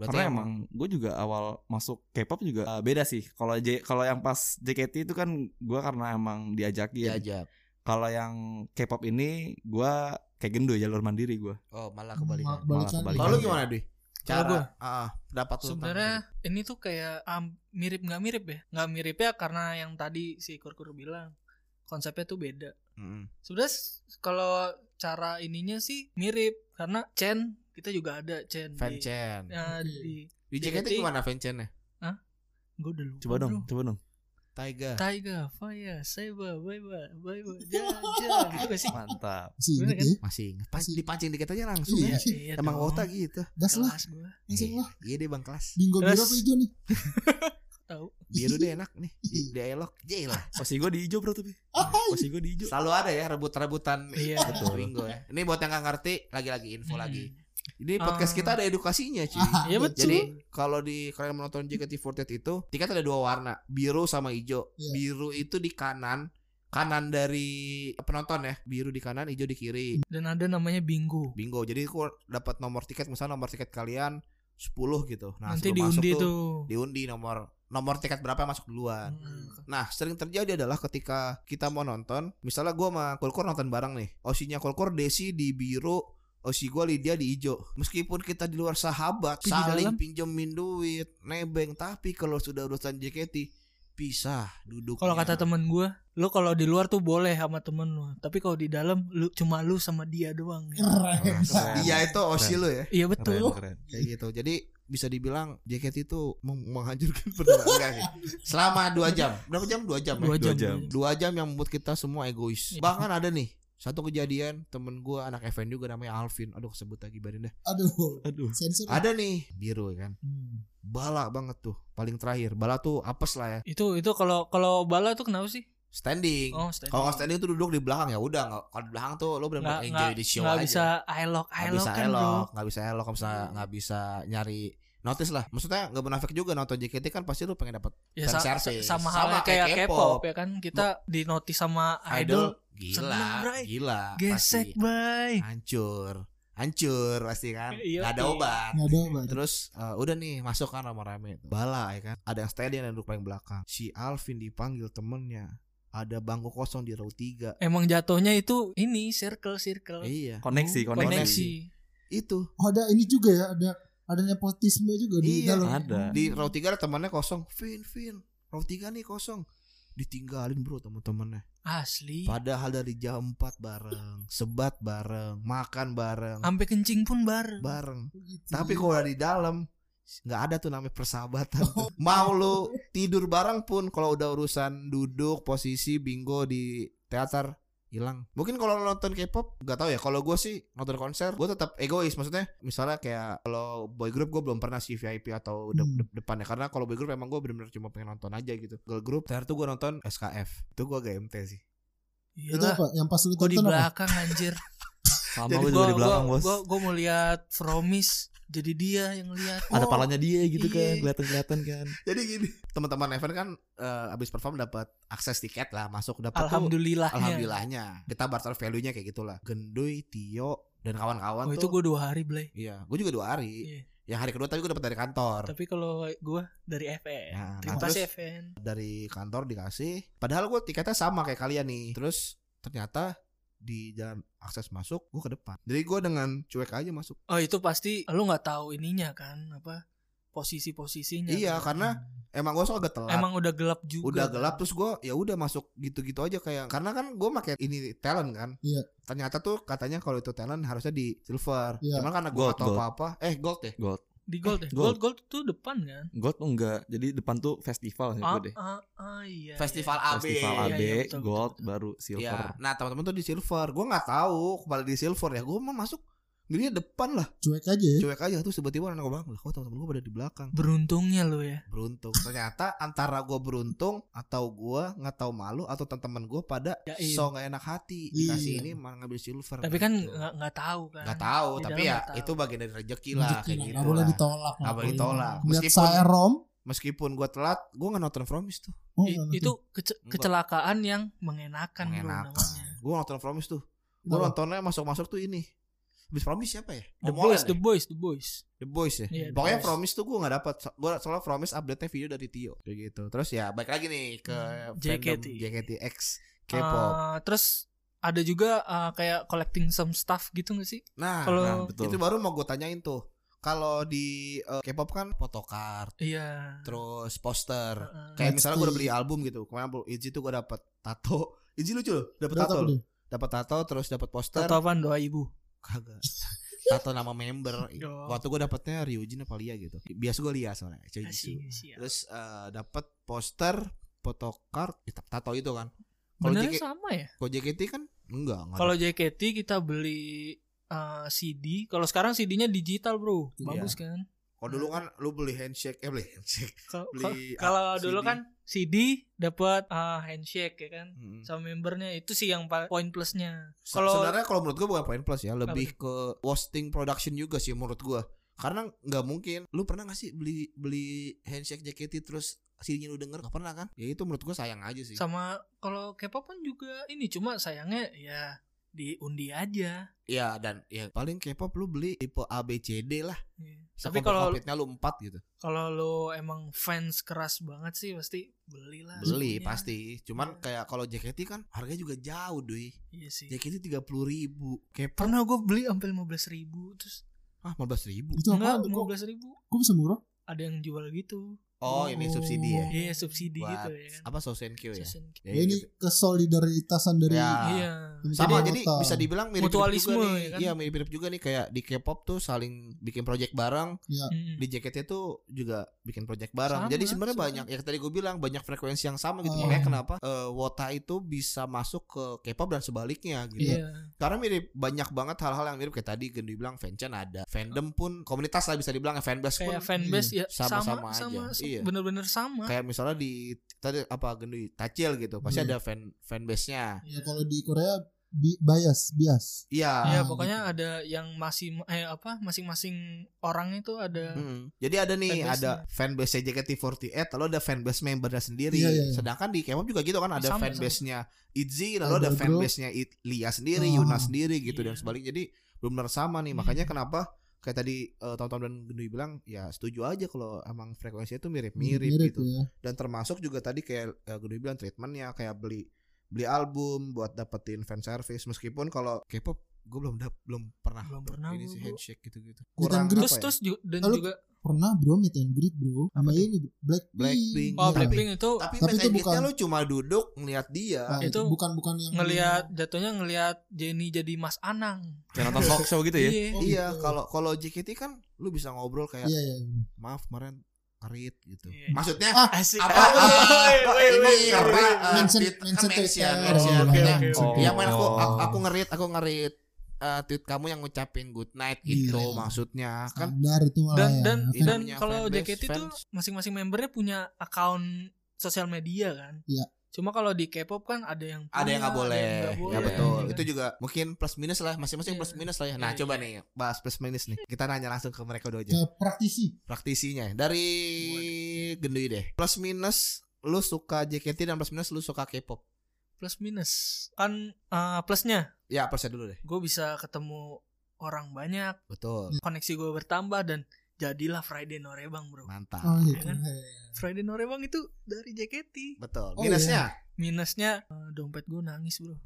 [SPEAKER 4] berarti
[SPEAKER 5] Karena emang gue juga awal masuk K-pop juga eh, beda sih. Kalau J kalau yang pas JKT itu kan gue karena emang diajakin.
[SPEAKER 4] diajak
[SPEAKER 5] Kalau yang K-pop ini gue kayak gendo jalur mandiri gue.
[SPEAKER 4] oh
[SPEAKER 3] Malah
[SPEAKER 4] malah kebalikan
[SPEAKER 3] kebalikan.
[SPEAKER 5] Malah kebalikan.
[SPEAKER 4] kalau lu gimana Dwi?
[SPEAKER 6] Kalau gua?
[SPEAKER 4] cara ah, dapat lu
[SPEAKER 6] sebenarnya ini tuh kayak am- mirip nggak mirip ya nggak mirip ya karena yang tadi si kurkur bilang konsepnya tuh beda
[SPEAKER 4] Mm-mm.
[SPEAKER 6] sebenarnya s- kalau cara ininya sih mirip karena Chen kita juga ada Chen
[SPEAKER 4] Fan
[SPEAKER 6] di,
[SPEAKER 4] Chen. Hmm.
[SPEAKER 6] ya,
[SPEAKER 3] Oke.
[SPEAKER 6] di
[SPEAKER 4] di JKT
[SPEAKER 6] JKT.
[SPEAKER 4] gimana Fan Chen-nya?
[SPEAKER 6] gue udah lupa
[SPEAKER 5] Coba dong,
[SPEAKER 6] bro.
[SPEAKER 5] coba dong.
[SPEAKER 4] Taiga
[SPEAKER 6] Taiga Fire Seba Baiba Baiba Jaja gitu gak sih
[SPEAKER 5] Mantap.
[SPEAKER 3] sih
[SPEAKER 6] Bener kan?
[SPEAKER 3] gitu ya
[SPEAKER 4] masih ingat.
[SPEAKER 3] Masih-
[SPEAKER 4] dipancing dikit aja langsung
[SPEAKER 3] Iya.
[SPEAKER 4] ya
[SPEAKER 6] Iya
[SPEAKER 4] emang
[SPEAKER 6] dong.
[SPEAKER 4] wota gitu
[SPEAKER 3] gas lah
[SPEAKER 6] Kelas gua.
[SPEAKER 3] langsung lah
[SPEAKER 4] iya deh bang kelas
[SPEAKER 3] bingo biru
[SPEAKER 6] Terus-
[SPEAKER 3] apa hijau nih
[SPEAKER 6] tahu
[SPEAKER 4] biru deh enak nih
[SPEAKER 3] Iya.
[SPEAKER 4] Di- dialog jelas
[SPEAKER 5] Posisi gue di hijau bro tapi. Posisi gue di hijau.
[SPEAKER 4] selalu ada ya rebut-rebutan
[SPEAKER 6] Iya.
[SPEAKER 4] betul Ringo ya ini buat yang nggak ngerti lagi-lagi info
[SPEAKER 6] Hmm.
[SPEAKER 4] lagi ini podcast
[SPEAKER 6] Ah.
[SPEAKER 4] kita ada edukasinya cuy
[SPEAKER 3] Ah,
[SPEAKER 6] Iya betul
[SPEAKER 4] Jadi kalau di kalian kan menonton JKT48 itu tiket ada dua warna, biru sama hijau.
[SPEAKER 3] Iya.
[SPEAKER 4] Biru itu di kanan, kanan dari penonton ya biru di kanan hijau di kiri
[SPEAKER 6] Dan ada namanya bingo.
[SPEAKER 4] bingo jadi aku dapat nomor tiket misalnya nomor tiket kalian 10 gitu nah
[SPEAKER 6] Nanti
[SPEAKER 4] sebelum masuk
[SPEAKER 6] diundi
[SPEAKER 4] tuh,
[SPEAKER 6] tuh.
[SPEAKER 4] diundi nomor nomor tiket berapa yang masuk duluan
[SPEAKER 6] Hmm.
[SPEAKER 4] Nah sering terjadi adalah ketika kita mau nonton Misalnya gue sama Kulkur nonton bareng nih Osinya Kulkur Desi di biru Osi gue Lydia di hijau Meskipun kita di luar sahabat
[SPEAKER 6] Tapi di
[SPEAKER 4] Saling
[SPEAKER 6] dalam?
[SPEAKER 4] pinjemin duit Nebeng Tapi kalau sudah urusan JKT Pisah duduk
[SPEAKER 6] Kalau kata temen gue, lu kalau di luar tuh boleh sama temen lu, tapi kalau di dalam lu cuma lu sama dia doang.
[SPEAKER 3] Keren.
[SPEAKER 4] Iya itu Osi lu ya
[SPEAKER 6] Iya
[SPEAKER 5] keren,
[SPEAKER 6] betul.
[SPEAKER 5] keren.
[SPEAKER 4] Kayak gitu Jadi bisa dibilang JKT itu meng- menghancurkan *laughs* pertemanan Enggak sih. Selama 2 jam Berapa jam? 2 jam ya?
[SPEAKER 6] Dua jam.
[SPEAKER 5] Dua jam.
[SPEAKER 4] dua jam yang membuat kita semua egois
[SPEAKER 6] Iya.
[SPEAKER 4] bahkan ada nih satu kejadian temen gue anak FN juga namanya Alvin aduh sebut lagi badan dah
[SPEAKER 3] Aduh.
[SPEAKER 5] Aduh.
[SPEAKER 3] Sensor.
[SPEAKER 4] ada nih biru ya kan
[SPEAKER 3] Hmm.
[SPEAKER 4] bala banget tuh paling terakhir bala tuh apes lah ya
[SPEAKER 6] Itu itu kalau kalau bala tuh kenapa sih?
[SPEAKER 4] standing
[SPEAKER 6] Oh, standing.
[SPEAKER 4] kalau nggak standing tuh duduk di belakang ya udah nggak- kalau di belakang tuh lo
[SPEAKER 6] Nggak-
[SPEAKER 4] benar-benar enjoy
[SPEAKER 6] nggak
[SPEAKER 4] di show
[SPEAKER 6] nggak
[SPEAKER 4] aja
[SPEAKER 6] bisa elok
[SPEAKER 4] nggak
[SPEAKER 6] elok
[SPEAKER 4] bisa
[SPEAKER 6] kan bro.
[SPEAKER 4] elok nggak bisa elok nggak bisa nggak bisa nyari notice lah maksudnya nggak munafik juga nonton JKT kan pasti lu pengen dapet
[SPEAKER 6] Ya,
[SPEAKER 4] Fan
[SPEAKER 6] sa-
[SPEAKER 4] service.
[SPEAKER 6] sama,
[SPEAKER 4] Sama
[SPEAKER 6] halnya
[SPEAKER 4] kayak
[SPEAKER 6] kayak K-pop ya kan kita di notice sama idol,
[SPEAKER 4] idol gila
[SPEAKER 6] seneng, Bray.
[SPEAKER 4] gila
[SPEAKER 6] gesek
[SPEAKER 4] pasti
[SPEAKER 6] bye.
[SPEAKER 4] hancur hancur pasti kan
[SPEAKER 6] *laughs* Iya,
[SPEAKER 4] nggak ada
[SPEAKER 6] iya.
[SPEAKER 4] obat
[SPEAKER 3] Nggak ada obat.
[SPEAKER 4] Terus eh, udah nih masuk kan rame-rame tuh. Bala ya kan Ada yang steady ada yang duduk paling belakang Si Alvin dipanggil temennya Ada bangku kosong di row 3
[SPEAKER 6] Emang jatuhnya itu ini circle circle.
[SPEAKER 4] Iya
[SPEAKER 5] Koneksi, koneksi.
[SPEAKER 6] Koneksi.
[SPEAKER 4] Itu
[SPEAKER 3] Oh, ada ini juga ya, ada ada nepotisme juga di
[SPEAKER 4] Iya.
[SPEAKER 3] dalam.
[SPEAKER 5] Ada.
[SPEAKER 4] Di row 3 ada temennya kosong Vin, Vin Row 3 nih kosong Ditinggalin bro temen-temennya
[SPEAKER 6] Asli.
[SPEAKER 4] Padahal dari jam 4 bareng Sebat bareng Makan bareng
[SPEAKER 6] Sampai kencing pun bareng.
[SPEAKER 4] Bareng
[SPEAKER 3] Gitu.
[SPEAKER 4] Tapi kalau dari dalam nggak ada tuh namanya persahabatan tuh. Mau lu tidur bareng pun kalau udah urusan duduk posisi bingo di teater hilang. Mungkin kalau lu nonton K-pop nggak tahu ya. Kalau gue sih nonton konser gue tetap egois. Maksudnya misalnya kayak kalau boy group gue belum pernah sih VIP atau de-
[SPEAKER 3] Hmm.
[SPEAKER 4] de- depannya karena kalau boy group emang gue bener-bener cuma pengen nonton aja gitu. Girl group terakhir tuh gue nonton SKF. Itu gue GMT sih.
[SPEAKER 3] itu
[SPEAKER 6] Iyalah,
[SPEAKER 3] apa? Yang pas lu
[SPEAKER 6] gue Iya. di
[SPEAKER 3] tonton apa?
[SPEAKER 6] belakang anjir.
[SPEAKER 5] Sama
[SPEAKER 6] Jadi
[SPEAKER 5] gue
[SPEAKER 6] gua
[SPEAKER 5] juga di belakang
[SPEAKER 6] gua,
[SPEAKER 5] bos.
[SPEAKER 6] Gua, gua mau lihat Fromis, jadi dia yang lihat.
[SPEAKER 5] Ada
[SPEAKER 6] Oh,
[SPEAKER 5] palanya dia gitu kan,
[SPEAKER 6] iya.
[SPEAKER 5] kelihatan-kelihatan kan.
[SPEAKER 4] Jadi gini teman-teman event kan eh, abis perform dapat akses tiket lah masuk dapat tuh
[SPEAKER 6] Alhamdulillahnya.
[SPEAKER 4] Alhamdulillahnya kita barter value-nya kayak gitulah. Genduy, Tio dan kawan-kawan
[SPEAKER 6] Oh,
[SPEAKER 4] tuh.
[SPEAKER 6] itu gue dua hari Blay
[SPEAKER 4] Iya, gue juga dua hari.
[SPEAKER 6] Iya.
[SPEAKER 4] Yang hari kedua tapi gue dapat dari kantor.
[SPEAKER 6] Tapi kalau gue dari FN.
[SPEAKER 4] Ya,
[SPEAKER 6] Terima
[SPEAKER 4] nah,
[SPEAKER 6] kasih
[SPEAKER 4] terus
[SPEAKER 6] FN.
[SPEAKER 4] dari kantor dikasih. Padahal gue tiketnya sama kayak kalian nih. Terus ternyata di jalan akses masuk gue ke depan. Jadi gue dengan cuek aja masuk.
[SPEAKER 6] Oh itu pasti lu nggak tahu ininya kan apa posisi-posisinya.
[SPEAKER 4] iya,
[SPEAKER 6] kan?
[SPEAKER 4] karena emang gue agak telat.
[SPEAKER 6] emang udah gelap juga.
[SPEAKER 4] udah gelap terus gue ya udah masuk gitu-gitu aja kayak karena kan gue pakai ini talent kan
[SPEAKER 3] Iya.
[SPEAKER 4] ternyata tuh katanya kalau itu talent harusnya di silver
[SPEAKER 3] Iya.
[SPEAKER 4] cuman karena gue
[SPEAKER 5] Gold,
[SPEAKER 4] atau
[SPEAKER 5] gold.
[SPEAKER 4] apa apa eh gold ya
[SPEAKER 6] Di gold, ya?
[SPEAKER 5] gold.
[SPEAKER 6] gold gold tuh depan kan.
[SPEAKER 5] God tuh enggak. Jadi depan tuh festival sih
[SPEAKER 6] Ah,
[SPEAKER 5] gue deh.
[SPEAKER 6] ah, ah, iya.
[SPEAKER 4] Festival
[SPEAKER 6] iya.
[SPEAKER 4] AB.
[SPEAKER 5] Festival
[SPEAKER 6] Iya,
[SPEAKER 5] AB,
[SPEAKER 6] iya,
[SPEAKER 5] Gold
[SPEAKER 6] betul, betul, betul.
[SPEAKER 5] baru Silver.
[SPEAKER 4] Iya. Nah teman-teman tuh di silver. Gue nggak tahu kembali di silver ya. Gue mau masuk milihnya depan lah.
[SPEAKER 3] Cuek aja ya.
[SPEAKER 4] Cuek aja terus tiba-tiba anak gue bilang lah. Kok teman-teman gue pada di belakang.
[SPEAKER 6] iya. Beruntungnya lu ya.
[SPEAKER 4] Beruntung. Ternyata antara gue beruntung atau gue nggak tahu malu atau teman-teman gue pada
[SPEAKER 6] Yain.
[SPEAKER 4] so nggak enak hati
[SPEAKER 3] Iya.
[SPEAKER 4] dikasih ini malah ngambil silver.
[SPEAKER 6] Ya, iya. Tapi kan
[SPEAKER 4] gitu.
[SPEAKER 6] nggak nggak tahu kan.
[SPEAKER 4] nggak tahu.
[SPEAKER 6] Di
[SPEAKER 4] Tapi
[SPEAKER 6] dalam
[SPEAKER 4] ya
[SPEAKER 6] nggak tahu.
[SPEAKER 4] itu bagian dari rezeki
[SPEAKER 3] Rezeki
[SPEAKER 4] lah kayak
[SPEAKER 3] lah,
[SPEAKER 4] gitu.
[SPEAKER 3] nggak boleh
[SPEAKER 4] lah.
[SPEAKER 3] ditolak.
[SPEAKER 4] Nggak boleh ditolak.
[SPEAKER 3] Lihat
[SPEAKER 4] Meskipun-
[SPEAKER 3] saya rom.
[SPEAKER 4] Meskipun gue telat, gue nggak nonton Fromis tuh.
[SPEAKER 3] Oh,
[SPEAKER 6] I-
[SPEAKER 3] nggak
[SPEAKER 6] itu
[SPEAKER 3] nonton.
[SPEAKER 6] kece-
[SPEAKER 4] Enggak.
[SPEAKER 6] kecelakaan yang mengenakan, Bro,
[SPEAKER 4] Mengenakan.
[SPEAKER 6] namanya.
[SPEAKER 4] Gue nonton Fromis tuh. Gue
[SPEAKER 3] Apa?
[SPEAKER 4] nontonnya masuk-masuk tuh ini. Abis Fromis siapa ya?
[SPEAKER 6] The
[SPEAKER 4] Molen
[SPEAKER 6] Boys,
[SPEAKER 4] ya?
[SPEAKER 6] The Boys, The Boys.
[SPEAKER 4] The Boys ya.
[SPEAKER 6] Iya, The
[SPEAKER 4] Pokoknya
[SPEAKER 6] Boys.
[SPEAKER 4] Promise tuh gue gak dapat. So- Gue soalnya Promise update-nya video dari Tio kayak gitu. Terus ya baik lagi nih ke
[SPEAKER 6] Hmm,
[SPEAKER 4] fandom
[SPEAKER 6] JKT.
[SPEAKER 4] JKTX K-pop.
[SPEAKER 6] Eh, terus ada juga eh, kayak collecting some stuff gitu gak sih?
[SPEAKER 4] nah,
[SPEAKER 6] Kalau
[SPEAKER 5] Nah, betul.
[SPEAKER 4] itu baru mau gue tanyain tuh. Kalau di eh, K-pop kan photocard,
[SPEAKER 6] iya.
[SPEAKER 4] terus poster.
[SPEAKER 6] Heeh.
[SPEAKER 3] Pasti.
[SPEAKER 4] Kayak misalnya gue udah beli album gitu. Kemarin album Izzy tuh gue dapat tato. *laughs* Izzy lucu loh, dapat
[SPEAKER 3] Udah
[SPEAKER 4] tato.
[SPEAKER 3] tahu
[SPEAKER 4] loh.
[SPEAKER 3] deh.
[SPEAKER 4] Dapat tato terus dapat poster.
[SPEAKER 6] Tato apaan doa ibu?
[SPEAKER 4] Kagak. tato nama member.
[SPEAKER 6] *laughs* Yo.
[SPEAKER 4] Waktu gue dapetnya Ryujin apa Lia gitu. Biasa gue Lia soalnya. Cewek jisoo.
[SPEAKER 6] Asik, asik.
[SPEAKER 4] Terus eh, dapat poster, photocard, ya, tato itu kan. Kalau
[SPEAKER 6] Benernya
[SPEAKER 4] JK
[SPEAKER 6] sama ya?
[SPEAKER 4] kalau JKT kan enggak, enggak.
[SPEAKER 6] Kalau JKT kita beli eh, CD, kalau sekarang CD-nya digital, Bro.
[SPEAKER 4] Iya.
[SPEAKER 6] Bagus kan?
[SPEAKER 4] Kalau dulu kan lu beli handshake, eh beli handshake.
[SPEAKER 6] Kalau-
[SPEAKER 4] Beli,
[SPEAKER 6] Kalau
[SPEAKER 4] ah,
[SPEAKER 6] dulu
[SPEAKER 4] CD.
[SPEAKER 6] kan CD dapat eh, handshake ya kan?
[SPEAKER 5] Hmm.
[SPEAKER 4] Mm.
[SPEAKER 6] Sama membernya itu sih yang pa- poin plusnya.
[SPEAKER 4] Se-
[SPEAKER 6] Kalau
[SPEAKER 4] Sebenarnya kalau menurut gue bukan poin plus ya, lebih ke wasting production juga sih menurut gue. karena nggak mungkin lu pernah gak sih beli beli handshake JKT terus CD-nya lu denger nggak pernah kan ya itu menurut gua sayang aja sih
[SPEAKER 6] Sama kalau K-pop pun juga ini cuma sayangnya ya diundi aja.
[SPEAKER 4] Iya dan ya paling K-pop lu beli tipe ABCD lah
[SPEAKER 6] Iya. Tapi kalau
[SPEAKER 4] nya lu empat gitu
[SPEAKER 6] kalau lo emang fans keras banget sih pasti belilah.
[SPEAKER 4] beli
[SPEAKER 6] semuanya.
[SPEAKER 4] pasti cuman kayak kalau JKT kan harganya juga jauh duy
[SPEAKER 6] Iya sih.
[SPEAKER 4] JKT tiga puluh ribu K-pop
[SPEAKER 6] Pernah gue beli hampir 15 ribu terus
[SPEAKER 4] ah 15 ribu
[SPEAKER 3] Itu
[SPEAKER 6] enggak
[SPEAKER 3] apa? Kok,
[SPEAKER 6] 15 ribu
[SPEAKER 3] kok bisa murah?
[SPEAKER 6] ada yang jual gitu.
[SPEAKER 4] oh ini subsidi ya
[SPEAKER 6] Iya subsidi
[SPEAKER 4] Buat
[SPEAKER 6] gitu ya kan.
[SPEAKER 4] apa Sosenkyo ya
[SPEAKER 6] Season-
[SPEAKER 4] Ya,
[SPEAKER 3] Ya, ini
[SPEAKER 4] gitu.
[SPEAKER 3] kesolidaritasan dari
[SPEAKER 4] Ya. Ah.
[SPEAKER 6] Iya.
[SPEAKER 4] sama
[SPEAKER 3] Jadi
[SPEAKER 4] jadi
[SPEAKER 3] anggota.
[SPEAKER 4] bisa dibilang mirip
[SPEAKER 6] Mutualisme,
[SPEAKER 4] juga nih
[SPEAKER 6] ya kan?
[SPEAKER 4] iya mirip-mirip juga nih kayak di K-pop tuh saling bikin project bareng
[SPEAKER 6] Mm-mm.
[SPEAKER 4] di JKT tuh juga bikin project bareng
[SPEAKER 6] Sama,
[SPEAKER 4] jadi sebenarnya
[SPEAKER 6] sama.
[SPEAKER 4] banyak ya tadi gue bilang banyak frekuensi yang sama gitu
[SPEAKER 3] Oh.
[SPEAKER 4] makanya kenapa eh, Wota itu bisa masuk ke K-pop dan sebaliknya gitu
[SPEAKER 6] Iya.
[SPEAKER 4] karena mirip banyak banget hal-hal yang mirip kayak tadi Gendry bilang fanchan ada fandom pun komunitas lah bisa dibilang ya, fanbase pun
[SPEAKER 6] Kayak fanbase ya sama
[SPEAKER 4] sama-sama
[SPEAKER 6] sama,
[SPEAKER 4] aja.
[SPEAKER 6] se-
[SPEAKER 4] Iya.
[SPEAKER 6] bener-bener sama.
[SPEAKER 4] kayak misalnya di tadi apa Gendry Tacil gitu pasti
[SPEAKER 3] Hmm.
[SPEAKER 4] ada fan fanbase-nya
[SPEAKER 3] Ya,
[SPEAKER 6] Iya.
[SPEAKER 3] kalau di Korea bi- bias, bias.
[SPEAKER 4] iya
[SPEAKER 6] Ya
[SPEAKER 3] Ah,
[SPEAKER 6] pokoknya ada yang masih eh apa masing-masing orang itu ada
[SPEAKER 4] Mm. Jadi ada nih
[SPEAKER 6] Fanbase-nya.
[SPEAKER 4] ada fanbase JKT48 lalu ada fanbase membernya sendiri.
[SPEAKER 3] Iya, iya, iya.
[SPEAKER 4] Sedangkan di K-pop juga gitu kan ada
[SPEAKER 6] Sama,
[SPEAKER 4] fanbase-nya Itzy lalu
[SPEAKER 3] Ada
[SPEAKER 4] ada
[SPEAKER 3] bro.
[SPEAKER 4] fanbase-nya It- Lia sendiri,
[SPEAKER 3] Ah.
[SPEAKER 4] Yuna sendiri gitu dan
[SPEAKER 6] Iya.
[SPEAKER 4] sebaliknya. Jadi benar sama nih.
[SPEAKER 6] Hmm.
[SPEAKER 4] Makanya kenapa kayak tadi eh, tonton dan Gendui bilang ya setuju aja kalau emang frekuensinya tuh mirip-mirip gitu.
[SPEAKER 3] ya.
[SPEAKER 4] Dan termasuk juga tadi kayak eh, Gendui bilang treatmentnya kayak beli beli album buat dapetin fan service meskipun kalau K-pop gue belum dap- belum pernah
[SPEAKER 6] Belum pernah
[SPEAKER 4] ini
[SPEAKER 6] gua,
[SPEAKER 4] sih
[SPEAKER 6] gua.
[SPEAKER 4] handshake gitu-gitu
[SPEAKER 3] Kurang
[SPEAKER 4] kurang
[SPEAKER 3] Kenapa
[SPEAKER 6] terus
[SPEAKER 4] apa ya?
[SPEAKER 6] terus ju- dan
[SPEAKER 3] Lalu-
[SPEAKER 6] juga
[SPEAKER 3] Pernah bro meet and greet bro. Sama
[SPEAKER 4] tuh?
[SPEAKER 3] ini Blackpink.
[SPEAKER 4] Blackpink.
[SPEAKER 6] oh
[SPEAKER 3] Iya.
[SPEAKER 4] Tapi-
[SPEAKER 6] Blackpink itu
[SPEAKER 4] tapi,
[SPEAKER 3] Tapi
[SPEAKER 4] tapi
[SPEAKER 3] itu bukan.
[SPEAKER 4] lu cuma duduk ngeliat dia
[SPEAKER 3] Nah,
[SPEAKER 6] Itu
[SPEAKER 3] bukan bukan yang
[SPEAKER 6] ngelihat jatuhnya ngelihat Jenny jadi Mas Anang.
[SPEAKER 5] Kayak nonton talk show gitu ya.
[SPEAKER 6] Iya.
[SPEAKER 3] Oh,
[SPEAKER 4] iya
[SPEAKER 3] gitu.
[SPEAKER 4] kalau kalau JKT kan lu bisa ngobrol kayak
[SPEAKER 3] Iya iya.
[SPEAKER 4] maaf kemarin karit gitu
[SPEAKER 6] Iya.
[SPEAKER 4] maksudnya
[SPEAKER 6] Asik.
[SPEAKER 4] apa ini
[SPEAKER 3] woi,
[SPEAKER 4] karena
[SPEAKER 3] woi.
[SPEAKER 4] eh,
[SPEAKER 3] Mention-
[SPEAKER 4] tweet- kan
[SPEAKER 3] mention tweet
[SPEAKER 4] mention,
[SPEAKER 3] ya.
[SPEAKER 4] mention.
[SPEAKER 3] Oh, oke,
[SPEAKER 4] Iya,
[SPEAKER 6] oke,
[SPEAKER 5] oke.
[SPEAKER 4] iya, main aku
[SPEAKER 5] Oh.
[SPEAKER 4] aku- aku ngerit aku ngerit eh, tweet kamu yang ngucapin good night gitu
[SPEAKER 3] Iya.
[SPEAKER 4] maksudnya kan
[SPEAKER 3] Standar itu malah
[SPEAKER 6] Dan
[SPEAKER 3] ya.
[SPEAKER 6] dan
[SPEAKER 3] Oke.
[SPEAKER 4] Iya.
[SPEAKER 6] dan
[SPEAKER 4] Namanya
[SPEAKER 6] kalau
[SPEAKER 4] fanbase,
[SPEAKER 6] JKT itu
[SPEAKER 4] fans.
[SPEAKER 6] masing-masing membernya punya akun sosial media kan.
[SPEAKER 3] Iya.
[SPEAKER 6] Cuma kalau di K-pop kan ada yang
[SPEAKER 4] ada yang
[SPEAKER 6] punya,
[SPEAKER 4] nggak boleh.
[SPEAKER 6] yang nggak
[SPEAKER 4] ya
[SPEAKER 6] boleh,
[SPEAKER 4] betul
[SPEAKER 3] Iya.
[SPEAKER 6] kan.
[SPEAKER 4] itu juga mungkin plus minus lah masing-masing
[SPEAKER 6] Iya.
[SPEAKER 4] plus minus lah ya nah
[SPEAKER 6] Iya,
[SPEAKER 4] coba
[SPEAKER 6] iya.
[SPEAKER 4] nih bahas plus minus nih kita nanya langsung ke mereka dulu aja
[SPEAKER 3] Ke praktisi.
[SPEAKER 4] praktisinya dari Gendui deh plus minus lu suka JKT dan plus minus lu suka K-pop
[SPEAKER 6] plus minus kan eh, plusnya
[SPEAKER 4] ya plusnya dulu deh
[SPEAKER 6] gue bisa ketemu orang banyak
[SPEAKER 3] Hmm.
[SPEAKER 4] betul
[SPEAKER 6] koneksi gue bertambah dan jadilah Friday Norebang bro
[SPEAKER 4] mantap
[SPEAKER 3] Oh iya.
[SPEAKER 6] Ya kan?
[SPEAKER 3] keren.
[SPEAKER 6] Friday Norebang itu dari JKT
[SPEAKER 4] betul
[SPEAKER 3] Oh,
[SPEAKER 4] minusnya
[SPEAKER 6] minusnya eh, dompet gue nangis bro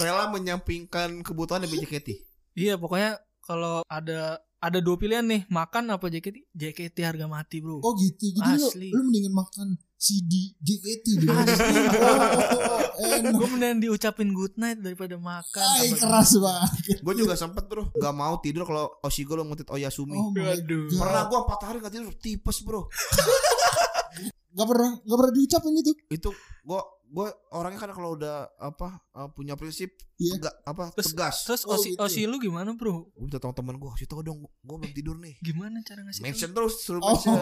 [SPEAKER 4] rela menyampingkan kebutuhan demi JKT
[SPEAKER 6] iya pokoknya kalau ada ada dua pilihan nih makan apa JKT JKT harga mati bro
[SPEAKER 3] Oh gitu. Jadi lu,
[SPEAKER 6] Asli.
[SPEAKER 3] lu mendingan makan CD
[SPEAKER 6] *laughs*
[SPEAKER 3] JKT dulu. oh, *laughs* enak.
[SPEAKER 6] gue mendingan diucapin good night daripada makan
[SPEAKER 3] iya. Ay,
[SPEAKER 6] gitu. sama-
[SPEAKER 3] keras banget.
[SPEAKER 4] gue juga sempet bro nggak mau tidur kalau Oshigo lo ngutit Oyasumi
[SPEAKER 3] Oh my
[SPEAKER 6] Waduh.
[SPEAKER 3] God.
[SPEAKER 4] pernah gue empat hari nggak tidur tipes bro
[SPEAKER 3] Gak pernah gak pernah diucapin itu.
[SPEAKER 4] itu gue gue orangnya kan kalau udah apa uh, punya prinsip
[SPEAKER 3] Iya.
[SPEAKER 4] tega- apa
[SPEAKER 6] Terus-
[SPEAKER 4] tegas
[SPEAKER 6] terus
[SPEAKER 3] Oh,
[SPEAKER 6] osi
[SPEAKER 3] gitu.
[SPEAKER 6] osi lu gimana bro
[SPEAKER 4] gue minta tolong teman gue kasih tau dong gue belum tidur nih
[SPEAKER 6] gimana cara ngasih tahu?
[SPEAKER 4] mention terus suruh
[SPEAKER 3] Oh.
[SPEAKER 4] mention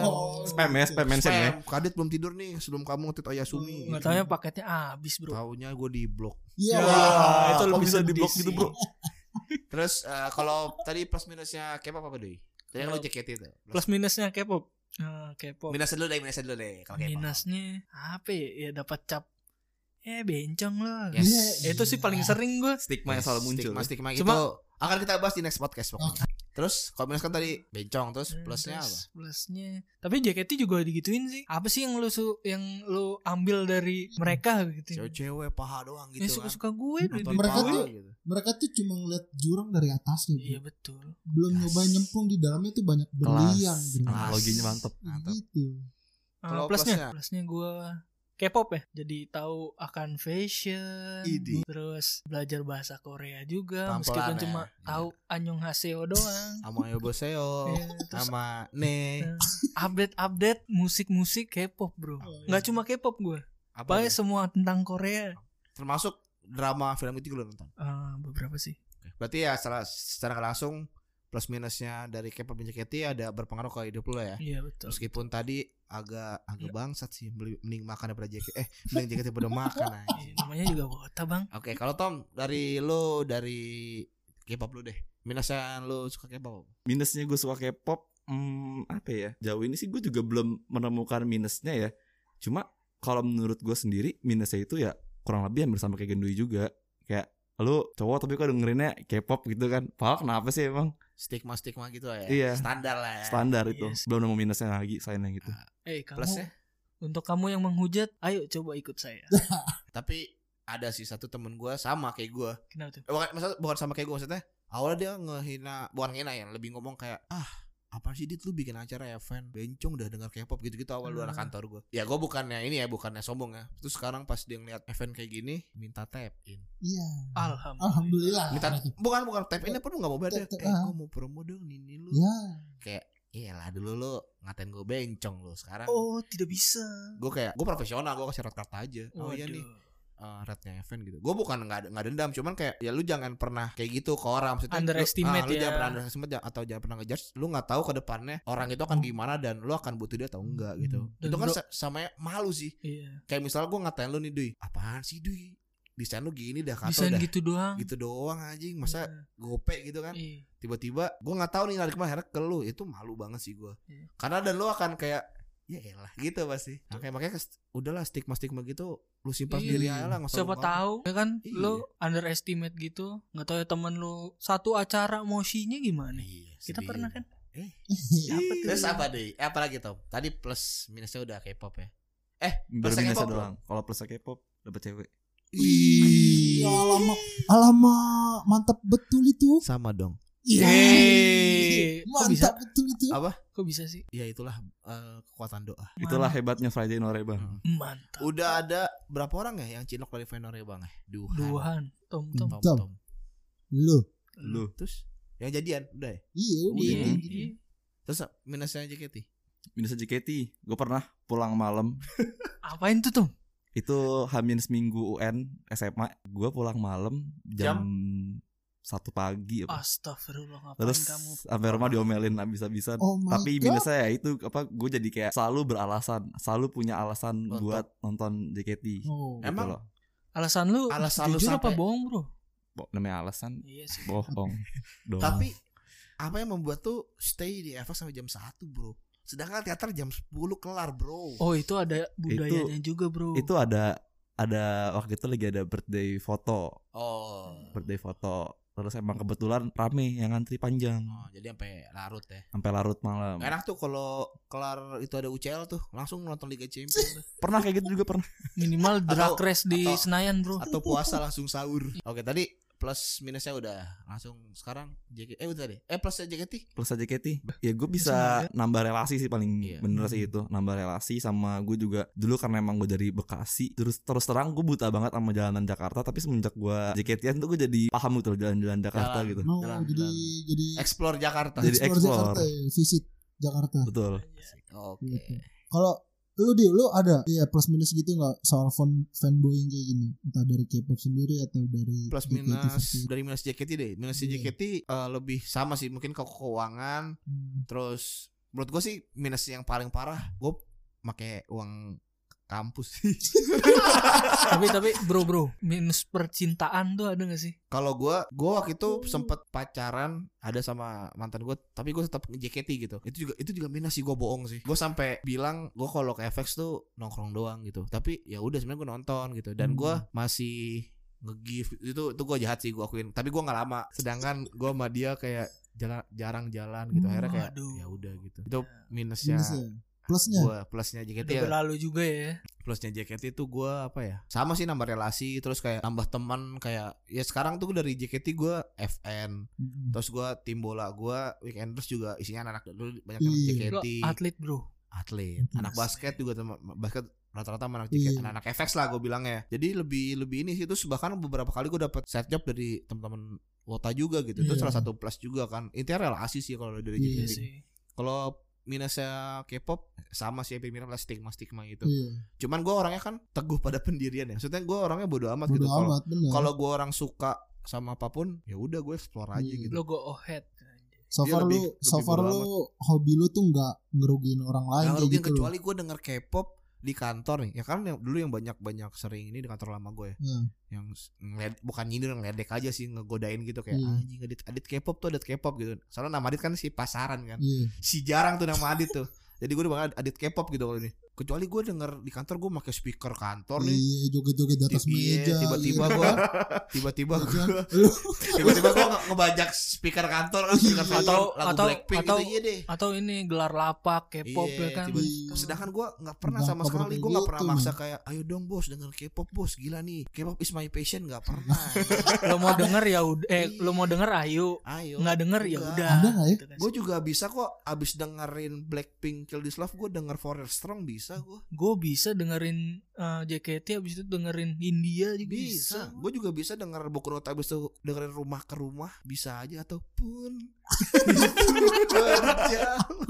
[SPEAKER 5] Spam ya, spam mention ya.
[SPEAKER 4] Spam, Kadit belum tidur nih sebelum kamu ngetit Ayasumi.
[SPEAKER 6] Oh, nggak taunya paketnya habis bro
[SPEAKER 4] Taunya gue di blok.
[SPEAKER 3] Iya.
[SPEAKER 6] Ya,
[SPEAKER 3] Wah.
[SPEAKER 5] itu
[SPEAKER 6] kok
[SPEAKER 5] lebih
[SPEAKER 6] bisa
[SPEAKER 5] sedih blok
[SPEAKER 6] di-
[SPEAKER 5] gitu, Bro.
[SPEAKER 4] Terus eh, kalau tadi plus minusnya K-pop apa deh? Tadi kan lo JKT itu. Plus
[SPEAKER 6] plus minusnya K-pop Eh, K-pop
[SPEAKER 4] minusnya dulu deh, minusnya dulu deh kalau K-pop.
[SPEAKER 6] minusnya apa ya, ya dapat cap ya bencong loh
[SPEAKER 4] Yes.
[SPEAKER 3] Iya.
[SPEAKER 6] ya, itu sih paling sering gue
[SPEAKER 5] Stigma yang selalu muncul.
[SPEAKER 4] Stigma, stigma
[SPEAKER 6] Cuma-
[SPEAKER 4] itu akan kita bahas di next podcast pokoknya. Terus kalau minus kan tadi bencong terus plusnya apa?
[SPEAKER 6] Eh, Hmm, Terus plusnya tapi JKT juga digituin sih apa sih yang lu su- yang lu ambil dari mereka gitu
[SPEAKER 4] Cewek-cewek paha doang gitu kan.
[SPEAKER 6] yang Iya, suka-suka gue duit
[SPEAKER 4] Nonton
[SPEAKER 3] Mereka
[SPEAKER 4] paha
[SPEAKER 3] tuh-
[SPEAKER 4] gitu.
[SPEAKER 3] Mereka tuh cuma ngeliat jurang dari atasnya. bro.
[SPEAKER 6] iya betul
[SPEAKER 3] Belum
[SPEAKER 4] Kelas.
[SPEAKER 3] nyoba nyemplung di dalamnya tuh banyak
[SPEAKER 5] Iya,
[SPEAKER 3] berlian.
[SPEAKER 4] Kelas.
[SPEAKER 3] bro.
[SPEAKER 4] Kelas.
[SPEAKER 5] Analoginya mantep.
[SPEAKER 4] Mantap.
[SPEAKER 3] Gitu.
[SPEAKER 6] Ah,
[SPEAKER 4] Kalau
[SPEAKER 6] plusnya plusnya gue K-pop ya, jadi tahu akan fashion,
[SPEAKER 4] Idi.
[SPEAKER 6] terus belajar bahasa Korea juga,
[SPEAKER 4] Pelan-pelan
[SPEAKER 6] meskipun
[SPEAKER 4] ya.
[SPEAKER 6] cuma
[SPEAKER 4] Iya.
[SPEAKER 6] tahu Anyong Haseo doang.
[SPEAKER 4] Sama Yoboseo,
[SPEAKER 6] Iya, terus eh,
[SPEAKER 4] sama Ne.
[SPEAKER 6] update-update musik-musik K-pop, Bro. Nggak cuma K-pop
[SPEAKER 4] Oh,
[SPEAKER 6] gue,
[SPEAKER 4] iya. Apa
[SPEAKER 6] pokoknya
[SPEAKER 4] tuh?
[SPEAKER 6] semua tentang Korea.
[SPEAKER 4] termasuk drama film itu lo nonton.
[SPEAKER 6] Ah, beberapa sih.
[SPEAKER 4] Berarti ya secara secara nggak langsung plus minusnya dari K-pop dan JKT ada berpengaruh ke hidup lo ya.
[SPEAKER 6] Iya, betul.
[SPEAKER 4] Meskipun tadi agak agak bangsat sih beli- mending makan daripada JKT eh mending JKT daripada makan aja.
[SPEAKER 6] Iya, namanya juga Wota, Bang.
[SPEAKER 4] Oke, kalau Tom dari lo dari K-pop lu deh. minusnya lu suka K-pop apa?
[SPEAKER 5] minusnya gue suka K-pop hmm, apa ya jauh ini sih gue juga belum menemukan minusnya ya cuma kalau menurut gue sendiri minusnya itu ya kurang lebih hampir sama kayak Gendui juga kayak lu cowok tapi kok dengerinnya K-pop gitu kan Pak kenapa sih emang
[SPEAKER 4] stigma stigma gitu ya
[SPEAKER 5] Iya.
[SPEAKER 4] standar lah ya
[SPEAKER 5] standar itu
[SPEAKER 6] Yes.
[SPEAKER 5] belum nemu minusnya lagi gitu. selain yang itu
[SPEAKER 4] Ah,
[SPEAKER 6] Eh kamu
[SPEAKER 4] plusnya
[SPEAKER 6] untuk kamu yang menghujat, ayo coba ikut saya.
[SPEAKER 4] tapi ada sih satu temen gue sama kayak gue
[SPEAKER 6] Kenapa tuh?
[SPEAKER 4] bukan maksud, bukan sama kayak gue maksudnya awalnya dia ngehina bukan ngehina ya lebih ngomong kayak ah apa sih dit lu bikin acara event bencong udah dengar K-pop gitu-gitu awal lu
[SPEAKER 6] Ah.
[SPEAKER 3] Hmm.
[SPEAKER 4] anak kantor gue ya gue bukannya ini ya bukannya sombong ya terus sekarang pas dia ngeliat event kayak gini minta tap in
[SPEAKER 3] Iya.
[SPEAKER 6] Alhamdulillah.
[SPEAKER 3] Alhamdulillah. *laughs*
[SPEAKER 4] minta bukan bukan tap ini pun nggak mau bayar
[SPEAKER 3] Tap- tap,
[SPEAKER 4] eh
[SPEAKER 3] ah.
[SPEAKER 4] gue mau promo dong ini lu
[SPEAKER 3] Ya.
[SPEAKER 4] kayak iyalah dulu lu ngatain gue bencong lu sekarang
[SPEAKER 6] Oh tidak bisa.
[SPEAKER 4] gue kayak gue profesional gue kasih red card aja oh iya
[SPEAKER 6] Waduh.
[SPEAKER 4] nih eh rednya event gitu gue bukan nggak nggak dendam cuman kayak ya lu jangan pernah kayak gitu ke orang maksudnya lu-
[SPEAKER 6] Underestimate
[SPEAKER 4] ah, lu
[SPEAKER 6] ya.
[SPEAKER 4] jangan pernah underestimate ja- atau jangan pernah ngejudge lu nggak tahu ke depannya orang itu akan gimana dan lu akan butuh dia atau enggak
[SPEAKER 3] Hmm.
[SPEAKER 4] gitu
[SPEAKER 6] Oh. Dan
[SPEAKER 4] itu kan
[SPEAKER 6] lu-
[SPEAKER 4] sa- sama malu sih
[SPEAKER 6] Iya.
[SPEAKER 4] kayak misal gue ngatain lu nih Dui apaan sih Dui desain lu gini dah kata
[SPEAKER 6] Desain
[SPEAKER 4] udah
[SPEAKER 6] gitu doang.
[SPEAKER 4] gitu doang anjing masa
[SPEAKER 6] Iya.
[SPEAKER 4] gope gitu kan
[SPEAKER 6] Iya.
[SPEAKER 4] tiba-tiba gue nggak tahu nih narik kemana ke lu itu malu banget sih gue
[SPEAKER 6] Iya.
[SPEAKER 4] karena dan lu akan kayak ya elah gitu pasti makanya makanya kes- udahlah stigma stigma gitu lu simpan
[SPEAKER 6] Iya.
[SPEAKER 4] sendiri aja lah nggak usah
[SPEAKER 6] Siapa
[SPEAKER 4] lu ngomong.
[SPEAKER 6] tahu ya kan
[SPEAKER 4] Iya.
[SPEAKER 6] lo underestimate gitu, nggak tahu ya temen lo satu acara mosinya gimana?
[SPEAKER 4] Iya,
[SPEAKER 6] Kita
[SPEAKER 4] sedih.
[SPEAKER 6] pernah kan?
[SPEAKER 4] Eh,
[SPEAKER 6] Siapa tuh?
[SPEAKER 4] terus apa deh? Apalagi Tom? Tadi plus minusnya udah K-pop ya. Eh,
[SPEAKER 5] baru
[SPEAKER 4] plusnya
[SPEAKER 5] minusnya
[SPEAKER 4] K-pop
[SPEAKER 5] doang kalau plusnya K-pop dapat cewek
[SPEAKER 3] Ih,
[SPEAKER 6] Iya,
[SPEAKER 3] alamak, alamak, Iya, mantap betul itu.
[SPEAKER 4] Sama dong.
[SPEAKER 3] Iya.
[SPEAKER 6] Yeay. Kok bisa?
[SPEAKER 3] Mantap betul itu.
[SPEAKER 4] Apa?
[SPEAKER 6] Kok bisa sih?
[SPEAKER 4] Ya itulah eh, kekuatan doa.
[SPEAKER 5] itulah hebatnya Friday Noreba
[SPEAKER 4] Hmm.
[SPEAKER 6] Mantap.
[SPEAKER 4] Udah ada berapa orang ya yang cinlok dari Venor ya bang? Duhan.
[SPEAKER 6] Duhan, Tom Tom.
[SPEAKER 4] Hmm, Tom,
[SPEAKER 3] Tom.
[SPEAKER 4] Tom.
[SPEAKER 3] Lu.
[SPEAKER 5] lu
[SPEAKER 4] Terus yang jadian udah ya?
[SPEAKER 3] Iya, udah.
[SPEAKER 6] Iya.
[SPEAKER 5] Iya.
[SPEAKER 6] iya.
[SPEAKER 4] Terus minusnya JKT.
[SPEAKER 5] minusnya JKT gue pernah pulang
[SPEAKER 4] *laughs*
[SPEAKER 5] malam
[SPEAKER 6] Apain tuh Tom?
[SPEAKER 5] itu hamin seminggu UN SMA gue pulang malam jam satu pagi apa
[SPEAKER 6] Astagfirullah ngapain
[SPEAKER 5] terus
[SPEAKER 6] kamu?
[SPEAKER 4] Iya.
[SPEAKER 5] sampai rumah diomelin abis-abisan
[SPEAKER 3] Oh my
[SPEAKER 5] tapi
[SPEAKER 3] God.
[SPEAKER 5] minusnya ya itu apa gue jadi kayak selalu beralasan selalu punya alasan
[SPEAKER 4] Nonton.
[SPEAKER 5] buat nonton JKT
[SPEAKER 3] Oh.
[SPEAKER 5] Gitu
[SPEAKER 4] Emang?
[SPEAKER 5] loh.
[SPEAKER 6] Alasan lu
[SPEAKER 4] Alasan lu
[SPEAKER 6] jujur apa
[SPEAKER 4] sampai-
[SPEAKER 6] bohong bro?
[SPEAKER 5] Bo- namanya alasan
[SPEAKER 6] Iya sih.
[SPEAKER 5] bohong dong
[SPEAKER 4] Tapi apa yang membuat tuh stay di Eva sampai jam 1, Bro? Sedangkan teater jam 10 kelar, Bro.
[SPEAKER 6] Oh itu ada budayanya juga bro.
[SPEAKER 5] itu ada ada waktu itu lagi ada birthday foto
[SPEAKER 4] Oh.
[SPEAKER 5] birthday foto terus emang kebetulan rame yang ngantri panjang
[SPEAKER 4] Oh, jadi sampai larut ya.
[SPEAKER 5] sampai larut malam
[SPEAKER 4] Enak tuh kalau kelar itu ada UCL tuh langsung nonton Liga Champions
[SPEAKER 5] pernah kayak gitu juga pernah
[SPEAKER 6] minimal drag
[SPEAKER 4] Atau-
[SPEAKER 6] race di
[SPEAKER 4] atau-
[SPEAKER 6] Senayan bro. Iya.
[SPEAKER 4] atau puasa langsung sahur. Oke, tadi plus minusnya udah langsung sekarang JK eh udah deh. Eh plusnya JKT.
[SPEAKER 5] plus aja Katy ya gue bisa nambah relasi sih paling
[SPEAKER 4] Iya.
[SPEAKER 5] bener sih itu nambah relasi sama gue juga dulu karena emang gue dari Bekasi terus terus terang gue buta banget sama jalanan Jakarta tapi semenjak gue JKT-an tuh gue jadi paham gitu loh jalan-jalan Jakarta
[SPEAKER 4] Jalan.
[SPEAKER 5] gitu
[SPEAKER 3] Oh,
[SPEAKER 4] Jalan,
[SPEAKER 3] jadi jadi
[SPEAKER 4] Explore Jakarta.
[SPEAKER 5] Jadi-
[SPEAKER 3] explore
[SPEAKER 5] explore.
[SPEAKER 3] Jakarta ya, visit Jakarta.
[SPEAKER 5] betul
[SPEAKER 4] Oke.
[SPEAKER 3] *laughs* Gitu. Kalau lu di lu ada ya plus minus gitu nggak soal fan fanboying kayak gini entah dari K-pop sendiri atau dari
[SPEAKER 4] Plus minus dari minus JKT deh. Minus
[SPEAKER 3] Iya.
[SPEAKER 4] JKT eh, lebih sama sih mungkin ke keuangan
[SPEAKER 3] Hmm.
[SPEAKER 4] terus menurut gue sih minus yang paling parah gue pakai uang kampus *laughs*
[SPEAKER 6] tapi tapi bro bro minus percintaan tuh ada gak sih?
[SPEAKER 4] kalau gua gua waktu
[SPEAKER 6] Hmm.
[SPEAKER 4] itu sempet pacaran ada sama mantan gua tapi gua tetap JKT gitu itu juga itu juga minus sih gua bohong sih gua sampai bilang gua kalau ke FX tuh nongkrong doang gitu tapi ya udah sebenarnya gua nonton gitu dan gua
[SPEAKER 6] Hmm.
[SPEAKER 4] masih nge-give itu itu gua jahat sih gua akuin tapi gua nggak lama sedangkan gua sama dia kayak jala- jarang jalan gitu akhirnya kayak
[SPEAKER 6] Waduh. Iya.
[SPEAKER 4] ya udah gitu itu minusnya
[SPEAKER 3] Minusnya. ya? Plusnya
[SPEAKER 4] Ya. gua plusnya JKT
[SPEAKER 6] Udah
[SPEAKER 4] ya
[SPEAKER 6] berlalu juga ya.
[SPEAKER 4] plusnya JKT itu gua apa ya sama sih nambah relasi terus kayak tambah teman kayak ya sekarang tuh dari JKT gua FN
[SPEAKER 3] Hmm.
[SPEAKER 4] terus gua tim bola gua weekenders juga isinya anak dulu banyak anak
[SPEAKER 3] Iya.
[SPEAKER 6] Lo
[SPEAKER 4] JKT
[SPEAKER 6] atlet bro.
[SPEAKER 4] atlet anak basket juga teman basket rata-rata sama anak JKT
[SPEAKER 3] Iya.
[SPEAKER 4] anak FX lah gua bilangnya jadi lebih lebih ini sih terus bahkan beberapa kali gua dapet set job dari teman-teman wota juga gitu
[SPEAKER 3] Iya.
[SPEAKER 4] itu salah satu plus juga kan intinya relasi sih kalau
[SPEAKER 3] Iya
[SPEAKER 4] dari
[SPEAKER 6] Iya
[SPEAKER 4] JKT
[SPEAKER 6] sih.
[SPEAKER 4] kalau minusnya K-pop sama sih Epic Mirror lah stigma-stigma gitu. itu
[SPEAKER 3] Iya,
[SPEAKER 4] Cuman gue orangnya kan teguh pada *laughs* pendirian ya. Maksudnya gue orangnya bodo amat
[SPEAKER 3] bodo
[SPEAKER 4] gitu. Kalau
[SPEAKER 3] amat ya. bener.
[SPEAKER 4] kalau gue orang suka sama apapun, ya udah gue explore aja
[SPEAKER 3] Iya.
[SPEAKER 4] gitu.
[SPEAKER 6] Lo go ahead.
[SPEAKER 3] so
[SPEAKER 4] dia
[SPEAKER 3] far
[SPEAKER 4] lebih-
[SPEAKER 3] lu
[SPEAKER 4] lebih
[SPEAKER 3] so far
[SPEAKER 4] bodo
[SPEAKER 3] lu hobi lu tuh nggak ngerugiin orang lain
[SPEAKER 4] Yang
[SPEAKER 3] kayak
[SPEAKER 4] rugiin
[SPEAKER 3] gitu. loh.
[SPEAKER 4] kecuali gue denger K-pop di kantor nih ya kan yang dulu yang banyak banyak sering ini di kantor lama gue ya
[SPEAKER 3] Hmm.
[SPEAKER 4] yang s- ngeled- bukan nyindir ngeledek aja sih ngegodain gitu kayak
[SPEAKER 3] Iya.
[SPEAKER 4] anjing adit adit K-pop tuh adit K-pop gitu soalnya nama adit kan si pasaran kan
[SPEAKER 3] Iya.
[SPEAKER 4] si jarang tuh nama adit tuh jadi gue udah bakal adit K-pop gitu kalau ini kecuali gue denger di kantor gue pakai speaker kantor nih
[SPEAKER 3] Iya, joget-joget di atas
[SPEAKER 4] Iya,
[SPEAKER 3] meja.
[SPEAKER 4] tiba-tiba
[SPEAKER 3] iya, *laughs*
[SPEAKER 4] gua-
[SPEAKER 3] kan?
[SPEAKER 4] tiba-tiba
[SPEAKER 3] Iya
[SPEAKER 4] gue
[SPEAKER 3] kan? *laughs* Lu-
[SPEAKER 4] tiba-tiba gue ngebajak speaker
[SPEAKER 3] Iya.
[SPEAKER 4] kantor kan speaker
[SPEAKER 6] Atau-
[SPEAKER 4] kantor lagu
[SPEAKER 6] atau-
[SPEAKER 4] Blackpink
[SPEAKER 6] atau-
[SPEAKER 4] gitu iya deh
[SPEAKER 6] atau ini gelar lapak K-pop
[SPEAKER 4] Iya,
[SPEAKER 6] ya kan
[SPEAKER 4] tiba-
[SPEAKER 3] Iya.
[SPEAKER 4] sedangkan gue nggak pernah
[SPEAKER 3] Nggak
[SPEAKER 4] sama
[SPEAKER 3] pernah
[SPEAKER 4] sekali
[SPEAKER 3] kayak
[SPEAKER 4] gue nggak pernah
[SPEAKER 3] gitu,
[SPEAKER 4] maksa
[SPEAKER 3] men.
[SPEAKER 4] kayak ayo dong bos denger K-pop bos gila nih K-pop is my passion nggak
[SPEAKER 3] *laughs*
[SPEAKER 4] pernah
[SPEAKER 6] lo mau denger ya udah eh lo mau denger ayo
[SPEAKER 4] ayo
[SPEAKER 6] nggak denger ya udah
[SPEAKER 3] Ada nggak ya?
[SPEAKER 6] Gitu kan.
[SPEAKER 4] gue juga bisa kok abis dengerin Blackpink Kill This Love gue denger Forever Strong bisa gue
[SPEAKER 6] gue bisa dengerin eh, JKT abis itu dengerin India juga bisa,
[SPEAKER 4] bisa gue juga bisa denger Boku no Hero, abis itu dengerin rumah ke rumah bisa aja
[SPEAKER 6] *laughs*
[SPEAKER 4] ataupun Berjauh.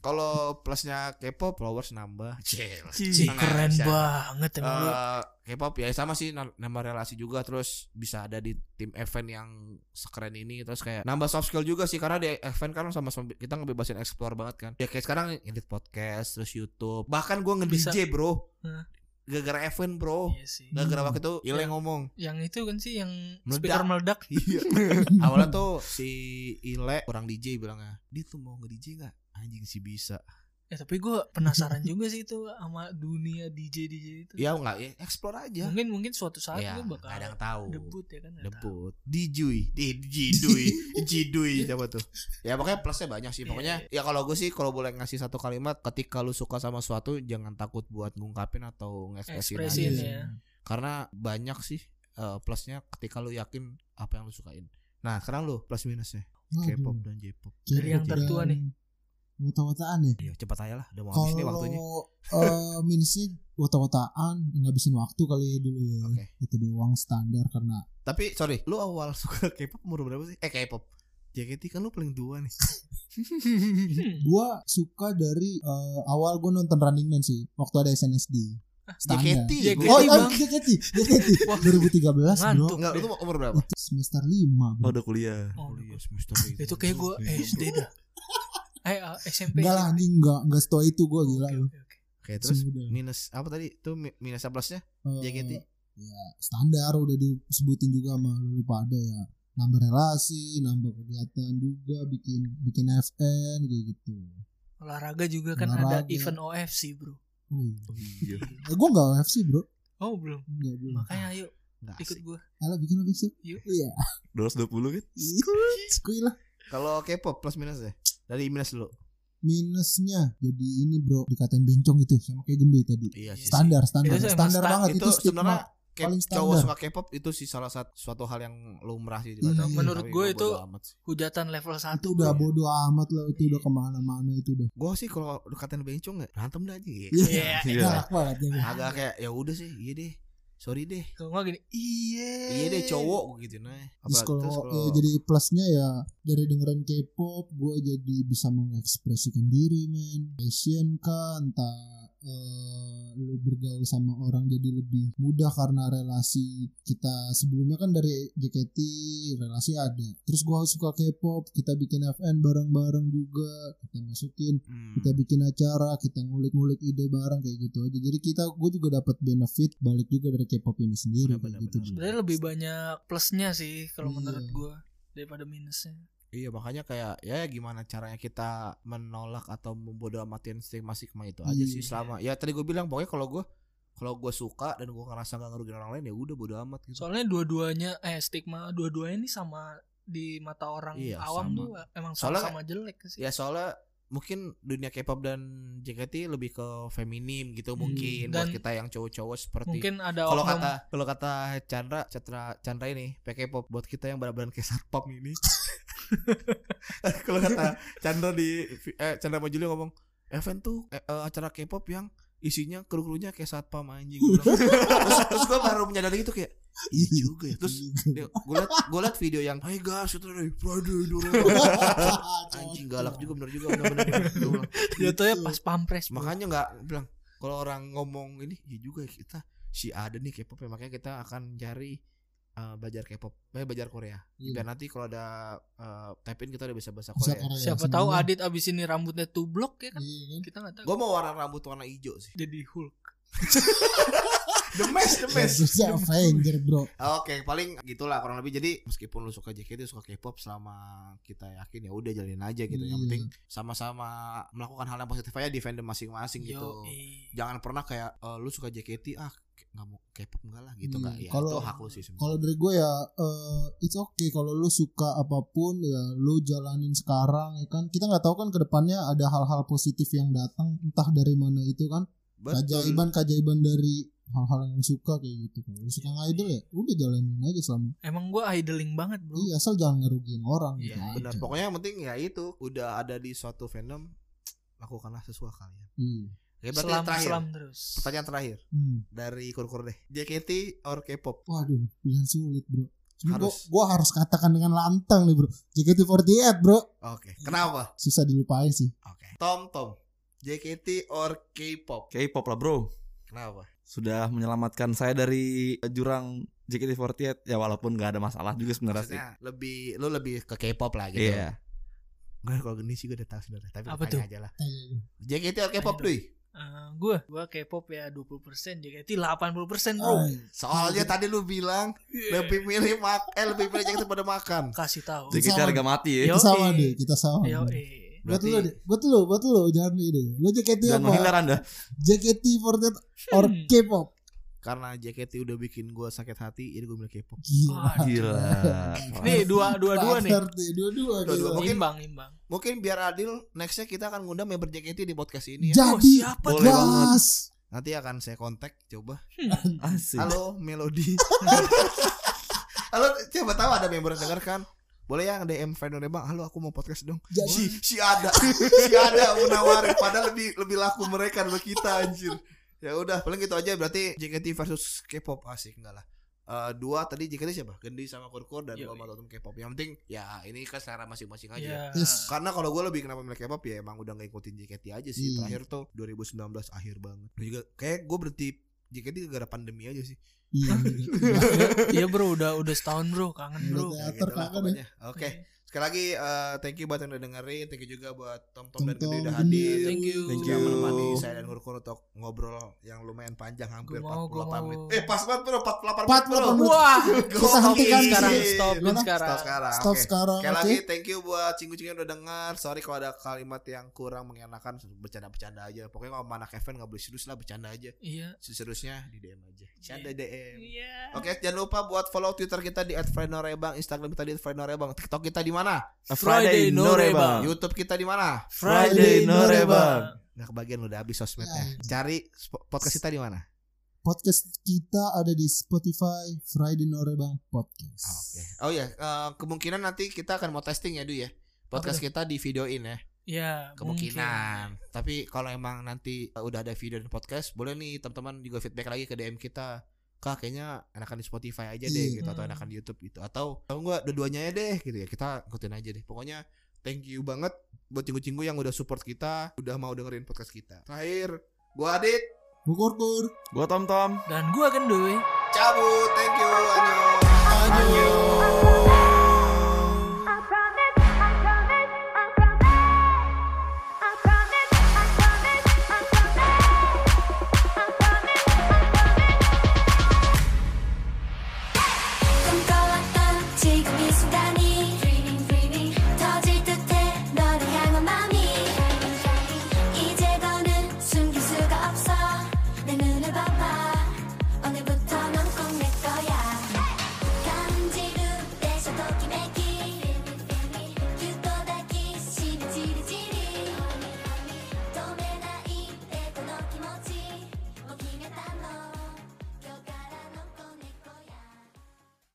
[SPEAKER 4] kalau plusnya K-pop followers nambah Cil.
[SPEAKER 6] Cih, keren
[SPEAKER 4] Bisa.
[SPEAKER 6] banget emang lo.
[SPEAKER 4] Eh, K-pop ya sama sih nam- nambah relasi juga terus bisa ada di tim event yang sekeren ini terus kayak nambah soft skill juga sih karena di event kan sama sama kita ngebebasin explore banget kan ya kayak sekarang edit podcast terus YouTube bahkan gua nge
[SPEAKER 6] Bisa.
[SPEAKER 4] DJ bro
[SPEAKER 6] Hah?
[SPEAKER 4] gara-gara event bro
[SPEAKER 6] Iya sih.
[SPEAKER 4] gara-gara waktu itu Ile
[SPEAKER 6] Ya.
[SPEAKER 4] ngomong
[SPEAKER 6] Yang itu kan sih yang
[SPEAKER 4] Meledak.
[SPEAKER 6] speaker meledak.
[SPEAKER 4] Iya. *laughs* Awalnya tuh si Ile orang DJ bilangnya, "Ah, "Dia tuh mau nge-DJ enggak?" Anjing sih bisa.
[SPEAKER 6] Ya tapi gue penasaran juga sih itu sama dunia DJ DJ itu.
[SPEAKER 4] Ya enggak ya, explore aja.
[SPEAKER 6] Mungkin mungkin suatu saat
[SPEAKER 4] ya,
[SPEAKER 6] gue bakal
[SPEAKER 4] nggak ada yang tahu.
[SPEAKER 6] debut ya kan. nggak tahu.
[SPEAKER 4] debut dijui di jidui jidui siapa tuh ya pokoknya plusnya banyak sih pokoknya ya kalau gue sih kalau boleh ngasih satu kalimat ketika lu suka sama suatu jangan takut buat ngungkapin atau ngekspresin aja
[SPEAKER 6] Ekspresin,
[SPEAKER 4] Iya sih.
[SPEAKER 6] ya.
[SPEAKER 4] karena banyak sih eh, plusnya ketika lu yakin apa yang lu sukain nah sekarang lu plus minusnya K-pop
[SPEAKER 3] Waduh,
[SPEAKER 4] dan J-pop
[SPEAKER 6] Dari yang
[SPEAKER 3] K-pop
[SPEAKER 6] tertua
[SPEAKER 3] dan
[SPEAKER 6] nih.
[SPEAKER 3] Wota-wotaan ya.
[SPEAKER 4] ya cepat aja lah udah mau habis nih
[SPEAKER 3] Kalau
[SPEAKER 4] waktunya
[SPEAKER 3] *laughs* eh minusnya wota-wotaan ngabisin waktu kali ya dulu ya.
[SPEAKER 4] Oke.
[SPEAKER 3] Itu doang standar karena
[SPEAKER 4] tapi sorry lu awal *laughs* suka K-pop umur berapa sih eh K-pop JKT kan lu paling tua nih
[SPEAKER 6] Hmm.
[SPEAKER 3] gua suka dari eh, awal gua nonton Running Man sih waktu ada SNSD. Standar.
[SPEAKER 4] JKT
[SPEAKER 6] JKT.
[SPEAKER 4] gua-
[SPEAKER 3] Oh, oh,
[SPEAKER 6] Bang.
[SPEAKER 3] JKT,
[SPEAKER 4] *laughs*
[SPEAKER 3] JKT. 2013, Bro.
[SPEAKER 6] Ngantuk.
[SPEAKER 4] Enggak, lu tuh umur berapa?
[SPEAKER 3] Semester 5,
[SPEAKER 5] Oh
[SPEAKER 3] Bro.
[SPEAKER 5] udah kuliah
[SPEAKER 6] Oh,
[SPEAKER 4] Kuliah semester lima.
[SPEAKER 6] itu kayak
[SPEAKER 4] Iya
[SPEAKER 6] gue SD
[SPEAKER 3] *laughs*
[SPEAKER 6] dah. Eh eh, SMP.
[SPEAKER 3] Enggak lah, anjing enggak, enggak setua itu gua gila
[SPEAKER 6] Oke,
[SPEAKER 3] lu.
[SPEAKER 6] oke, oke.
[SPEAKER 4] Oke, terus
[SPEAKER 3] Sudah.
[SPEAKER 4] minus apa tadi? Itu mi- minus apa plusnya?
[SPEAKER 3] Eh,
[SPEAKER 4] JKT.
[SPEAKER 3] ya standar udah disebutin juga sama lu pada ya nambah relasi nambah kegiatan juga bikin bikin FN kayak gitu
[SPEAKER 6] Olahraga juga kan ada
[SPEAKER 3] Olahraga.
[SPEAKER 6] event OFC bro.
[SPEAKER 3] Wih.
[SPEAKER 5] Iya.
[SPEAKER 3] eh, gue gak UFC bro
[SPEAKER 6] Oh belum.
[SPEAKER 3] Enggak belum
[SPEAKER 6] Makanya ayo
[SPEAKER 4] Enggak.
[SPEAKER 6] ikut
[SPEAKER 4] asik.
[SPEAKER 6] gue.
[SPEAKER 3] Alah bikin apa sih
[SPEAKER 6] Yuk.
[SPEAKER 3] iya
[SPEAKER 5] 220 kan
[SPEAKER 3] Skuy lah
[SPEAKER 4] Kalau K-pop plus minus ya? Dari minus dulu.
[SPEAKER 3] minusnya jadi ini bro dikatain bencong itu sama kayak gendut tadi
[SPEAKER 4] Iya
[SPEAKER 3] standar standar
[SPEAKER 6] Itu emang
[SPEAKER 3] standar
[SPEAKER 6] sta-
[SPEAKER 3] banget itu,
[SPEAKER 4] Itu
[SPEAKER 3] stigma.
[SPEAKER 4] sebenarnya K-
[SPEAKER 3] paling
[SPEAKER 4] cowok
[SPEAKER 3] standar.
[SPEAKER 4] suka K-pop itu sih salah satu suatu hal yang lumrah sih di
[SPEAKER 3] Iya.
[SPEAKER 4] Batam.
[SPEAKER 6] Menurut
[SPEAKER 4] Tapi
[SPEAKER 6] gue
[SPEAKER 4] gua
[SPEAKER 6] itu-
[SPEAKER 4] bodo amat sih.
[SPEAKER 6] Hujatan level 1
[SPEAKER 3] itu
[SPEAKER 6] Iya.
[SPEAKER 3] udah bodo amat lah itu udah kemana-mana itu udah
[SPEAKER 4] Gue sih kalau dekatin bencong ya berantem dah aja. Iya.
[SPEAKER 6] Iya.
[SPEAKER 5] Iya
[SPEAKER 3] galak banget ya gua.
[SPEAKER 4] Agak kayak ya udah sih, iya deh. Sorry deh.
[SPEAKER 6] Kalau nggak gini. Iya.
[SPEAKER 4] Iya deh cowok gua gitu nah.
[SPEAKER 3] Terus
[SPEAKER 4] Apa-
[SPEAKER 3] kalau
[SPEAKER 4] terus
[SPEAKER 3] ya,
[SPEAKER 4] kalau-
[SPEAKER 3] jadi plusnya ya dari dengerin K-pop gue jadi bisa mengekspresikan diri men passion kah entah eh, lu bergaul sama orang jadi lebih mudah karena relasi kita sebelumnya kan dari JKT relasi ada terus gue suka K-pop kita bikin FN bareng-bareng juga kita masukin
[SPEAKER 4] Hmm.
[SPEAKER 3] kita bikin acara kita ngulik-ngulik ide bareng kayak gitu aja jadi kita gue juga dapat benefit balik juga dari K-pop ini sendiri kayak
[SPEAKER 4] Benar-benar,
[SPEAKER 3] gitu
[SPEAKER 4] benar.
[SPEAKER 3] Bro.
[SPEAKER 6] Sebenarnya lebih banyak plusnya sih kalau
[SPEAKER 3] Iya.
[SPEAKER 6] menurut gue daripada minusnya.
[SPEAKER 4] Iya makanya kayak ya gimana caranya kita menolak atau membodoh amatin stigma-stigma itu aja
[SPEAKER 3] Iya.
[SPEAKER 4] sih selama ya tadi gue bilang pokoknya kalau gue kalau gue suka dan gue ngerasa gak ngerugiin orang lain ya udah bodo amat gitu.
[SPEAKER 6] Soalnya dua-duanya eh stigma dua-duanya ini sama di mata orang
[SPEAKER 4] Iya,
[SPEAKER 6] awam
[SPEAKER 4] sama.
[SPEAKER 6] tuh emang
[SPEAKER 4] Soalnya-
[SPEAKER 6] sama-sama jelek sih.
[SPEAKER 4] ya soalnya mungkin dunia K-pop dan JKT lebih ke feminim gitu mungkin buat
[SPEAKER 6] Dan-
[SPEAKER 4] kita yang cowok-cowok seperti
[SPEAKER 6] Mungkin ada
[SPEAKER 4] kalau
[SPEAKER 6] oknum- *laughs*
[SPEAKER 4] kata kalau kata Chandra Chandra Chandra ini pakai pop buat kita yang benar-benar kayak sarpam *laughs* ini kalau kata Chandra di eh, Chandra Majuli ngomong event tuh eh, eh, acara K-pop yang isinya kru-krunya kayak satpam anjing Gua bilang. terus, terus gue baru menyadari itu kayak iya juga ya terus gue liat gue liat video yang Hai guys itu dari Friday *laughs*
[SPEAKER 3] *laughs*
[SPEAKER 4] Doraemon." anjing galak juga bener juga bener-bener Gua bilang,
[SPEAKER 6] jatuhnya
[SPEAKER 3] Iya.
[SPEAKER 6] pas pampres. bro.
[SPEAKER 4] makanya nggak bilang iya kalau orang ngomong ini ya juga ya kita si ada nih K-pop ya, makanya kita akan cari eh, belajar K-pop, eh, belajar Korea.
[SPEAKER 3] Iya.
[SPEAKER 4] Biar nanti kalau ada eh, type in kita udah bisa bahasa
[SPEAKER 3] Bisa
[SPEAKER 4] Korea.
[SPEAKER 3] Korea
[SPEAKER 6] Siapa
[SPEAKER 3] sendiri.
[SPEAKER 6] tahu kan? Adit abis ini rambutnya tublok ya kan?
[SPEAKER 3] Iya kan?
[SPEAKER 6] Kita nggak tahu.
[SPEAKER 4] Gue mau warna rambut warna hijau sih. *laughs*
[SPEAKER 6] Jadi Hulk.
[SPEAKER 4] The Mesh, The Mesh.
[SPEAKER 3] Maksudnya Avenger bro
[SPEAKER 4] Oke, paling gitulah kurang lebih. Jadi meskipun lu suka JKT, suka K-pop, selama kita yakin ya udah jalanin aja gitu. Yang
[SPEAKER 3] Iya.
[SPEAKER 4] penting sama-sama melakukan hal yang positif aja di fandom masing-masing gitu.
[SPEAKER 6] Yoi.
[SPEAKER 4] Jangan pernah kayak eh, lu suka JKT, ah k- nggak mau K-pop enggak lah gitu
[SPEAKER 3] Iya.
[SPEAKER 4] nggak. Ya,
[SPEAKER 3] Kalau-
[SPEAKER 4] itu hak lu sih sebenarnya.
[SPEAKER 3] Kalau dari gue ya eh, It's okay Kalau lu suka apapun Ya lu jalanin sekarang ya kan Kita nggak tahu kan kedepannya Ada hal-hal positif yang datang Entah dari mana itu kan
[SPEAKER 4] Betul.
[SPEAKER 3] Kajaiban-kajaiban dari Hal-hal yang lu suka kayak gitu Kalau lu suka ngidol ya Udah jalanin aja selama
[SPEAKER 6] Emang gue idling banget bro.
[SPEAKER 3] Iya asal jangan ngerugiin orang
[SPEAKER 6] Iya,
[SPEAKER 3] gitu aja.
[SPEAKER 4] Nah, Benar. Pokoknya yang penting ya itu udah ada di suatu fandom lakukanlah sesuai kalian.
[SPEAKER 3] Iya.
[SPEAKER 4] Oke, berarti
[SPEAKER 6] Selam
[SPEAKER 4] yang terakhir.
[SPEAKER 6] selam terus.
[SPEAKER 4] Pertanyaan terakhir
[SPEAKER 3] Hmm.
[SPEAKER 4] dari Kurkur deh. JKT or K-pop?
[SPEAKER 3] Waduh, pilihan sulit bro. Cuma gua,
[SPEAKER 4] Harus.
[SPEAKER 3] gua harus katakan dengan lantang nih bro. JKT48 bro,
[SPEAKER 4] Oke.
[SPEAKER 6] Iya.
[SPEAKER 4] Kenapa?
[SPEAKER 3] susah dilupain sih.
[SPEAKER 4] Oke. Tom Tom. JKT or K-pop?
[SPEAKER 5] K-pop lah bro
[SPEAKER 4] Kenapa?
[SPEAKER 5] sudah menyelamatkan saya dari jurang JKT48 ya walaupun nggak ada masalah juga sebenarnya sih.
[SPEAKER 4] Maksudnya lebih lu lebih ke K-pop lah gitu.
[SPEAKER 5] Iya.
[SPEAKER 4] Gue kalau gini sih gue udah tahu sebenarnya, tapi
[SPEAKER 6] Apa
[SPEAKER 4] tanya
[SPEAKER 6] tuh?
[SPEAKER 4] aja lah.
[SPEAKER 3] Tanya
[SPEAKER 4] JKT or K-pop
[SPEAKER 6] Tanya dong.
[SPEAKER 4] duy?
[SPEAKER 6] gue gue Eh, K-pop ya 20% JKT 80%
[SPEAKER 3] Oh,
[SPEAKER 6] bro.
[SPEAKER 4] iya. Soalnya tadi lu bilang
[SPEAKER 6] Iya.
[SPEAKER 4] lebih milih mak eh lebih milih JKT pada makan.
[SPEAKER 6] Kasih tahu.
[SPEAKER 5] JKT
[SPEAKER 3] Sama.
[SPEAKER 5] harga mati ya.
[SPEAKER 6] Yo.
[SPEAKER 3] kita sama
[SPEAKER 6] Yoi.
[SPEAKER 3] deh, kita sama.
[SPEAKER 6] Yo,
[SPEAKER 3] Buat
[SPEAKER 6] eh.
[SPEAKER 4] Berarti
[SPEAKER 3] lu, deh. buat lu, buat lu, jangan lu deh. Lu JKT
[SPEAKER 5] Jangan
[SPEAKER 3] apa?
[SPEAKER 5] menghindar Anda.
[SPEAKER 3] JKT48 or
[SPEAKER 6] Hmm.
[SPEAKER 3] K-pop?
[SPEAKER 4] karena JKT udah bikin gue sakit hati, jadi gue milih K-pop.
[SPEAKER 3] Gila.
[SPEAKER 5] Gila. Iya.
[SPEAKER 6] Nih dua dua dua nih.
[SPEAKER 3] Bastard Dua-dua.
[SPEAKER 4] Dua-dua.
[SPEAKER 3] gila.
[SPEAKER 4] Mungkin-
[SPEAKER 6] Imbang imbang.
[SPEAKER 4] Mungkin biar adil, nextnya kita akan ngundang member JKT di podcast ini ya.
[SPEAKER 6] Oh,
[SPEAKER 3] Jadi,
[SPEAKER 6] siapa tuh?
[SPEAKER 5] Boleh banget.
[SPEAKER 3] gas.
[SPEAKER 4] Nanti akan saya kontak, coba.
[SPEAKER 5] Asik.
[SPEAKER 4] Halo Melody. *laughs* Halo, coba tahu ada member yang denger kan? Boleh ya DM Fandom Rebang, halo aku mau podcast dong.
[SPEAKER 3] Jadi,
[SPEAKER 4] Si, si ada, *laughs* si ada mau nawarin. Padahal lebih lebih laku mereka daripada kita anjir. Ya udah, paling gitu aja. Berarti JKT versus K-pop asik enggak lah. Eh, dua tadi JKT siapa? Gendi sama Kurkur dan
[SPEAKER 6] Yoi.
[SPEAKER 4] gua sama Totem K-pop. Yang penting ya ini kan selera masing-masing aja.
[SPEAKER 6] Ya.
[SPEAKER 3] Yes.
[SPEAKER 4] Karena kalau gue lebih kenapa milih K-pop ya emang udah gak ngikutin JKT aja sih
[SPEAKER 3] Iya.
[SPEAKER 4] Terakhir tuh 2019 akhir banget Gua juga kayak gue berhenti JKT gara-gara pandemi aja sih
[SPEAKER 3] iya.
[SPEAKER 6] Iya bro udah udah setahun bro kangen bro.
[SPEAKER 3] Udah
[SPEAKER 4] Ya
[SPEAKER 3] teater
[SPEAKER 4] gitu lah
[SPEAKER 3] kangen
[SPEAKER 4] pokoknya. Oke sekali lagi eh, thank you buat yang udah dengerin Thank you juga buat Tom Tom, dan
[SPEAKER 3] Tom-tom,
[SPEAKER 4] Gede udah
[SPEAKER 3] Gede.
[SPEAKER 4] hadir
[SPEAKER 6] Thank you.
[SPEAKER 5] Thank
[SPEAKER 4] Sudah
[SPEAKER 5] you.
[SPEAKER 4] menemani saya dan Hurkur untuk ngobrol yang lumayan panjang hampir
[SPEAKER 6] Gua
[SPEAKER 4] 48
[SPEAKER 6] mau, gua
[SPEAKER 4] menit
[SPEAKER 6] mau.
[SPEAKER 4] Eh pas banget bro 48 menit
[SPEAKER 3] 48
[SPEAKER 4] bro
[SPEAKER 3] menit.
[SPEAKER 6] Wah.
[SPEAKER 4] Gokil.
[SPEAKER 3] hentikan
[SPEAKER 6] sekarang,
[SPEAKER 4] Iya.
[SPEAKER 6] stopin
[SPEAKER 4] Gimana?
[SPEAKER 6] sekarang.
[SPEAKER 4] Stop sekarang
[SPEAKER 3] Stop
[SPEAKER 4] Ah, oke.
[SPEAKER 3] sekarang,
[SPEAKER 4] Sekali
[SPEAKER 3] oke.
[SPEAKER 4] lagi thank you buat cinggu-cinggu yang udah dengar. Sorry kalau ada kalimat yang kurang mengenakan, bercanda-bercanda aja. Pokoknya kalau sama anak event nggak boleh serius lah, bercanda aja.
[SPEAKER 6] Iya.
[SPEAKER 4] Seriusnya di DM aja. Canda DM.
[SPEAKER 6] Iya.
[SPEAKER 4] Oke, jangan lupa buat follow Twitter kita di @frenorebang, Instagram kita di @frenorebang, TikTok kita di mana?
[SPEAKER 5] A
[SPEAKER 6] Friday
[SPEAKER 5] Ah.
[SPEAKER 6] no rebang.
[SPEAKER 4] YouTube kita di mana?
[SPEAKER 5] Friday no rebang.
[SPEAKER 4] Nggak kebagian udah habis sosmednya. Cari sp- podcast kita di mana?
[SPEAKER 3] Podcast kita ada di Spotify Friday Norebang Podcast.
[SPEAKER 4] Oke. Oh ya, kemungkinan nanti kita akan mau testing ya, Du ya. Podcast kita di videoin ya.
[SPEAKER 6] Iya.
[SPEAKER 4] kemungkinan. Tapi kalau emang nanti uh, udah ada video dan podcast, boleh nih teman-teman juga feedback lagi ke DM kita. Kak kayaknya enakan di Spotify aja deh
[SPEAKER 3] Iya.
[SPEAKER 4] gitu atau enakan di YouTube gitu atau atau enggak dua-duanya ya deh gitu ya. Kita ikutin aja deh. Pokoknya thank you banget buat cinggu-cinggu yang udah support kita, udah mau dengerin podcast kita. Terakhir, gua Adit
[SPEAKER 3] Bukur-bukur.
[SPEAKER 5] Gua Tom Tom.
[SPEAKER 6] Dan gua gendut.
[SPEAKER 4] cabut. Thank you. Annyeong. Annyeong.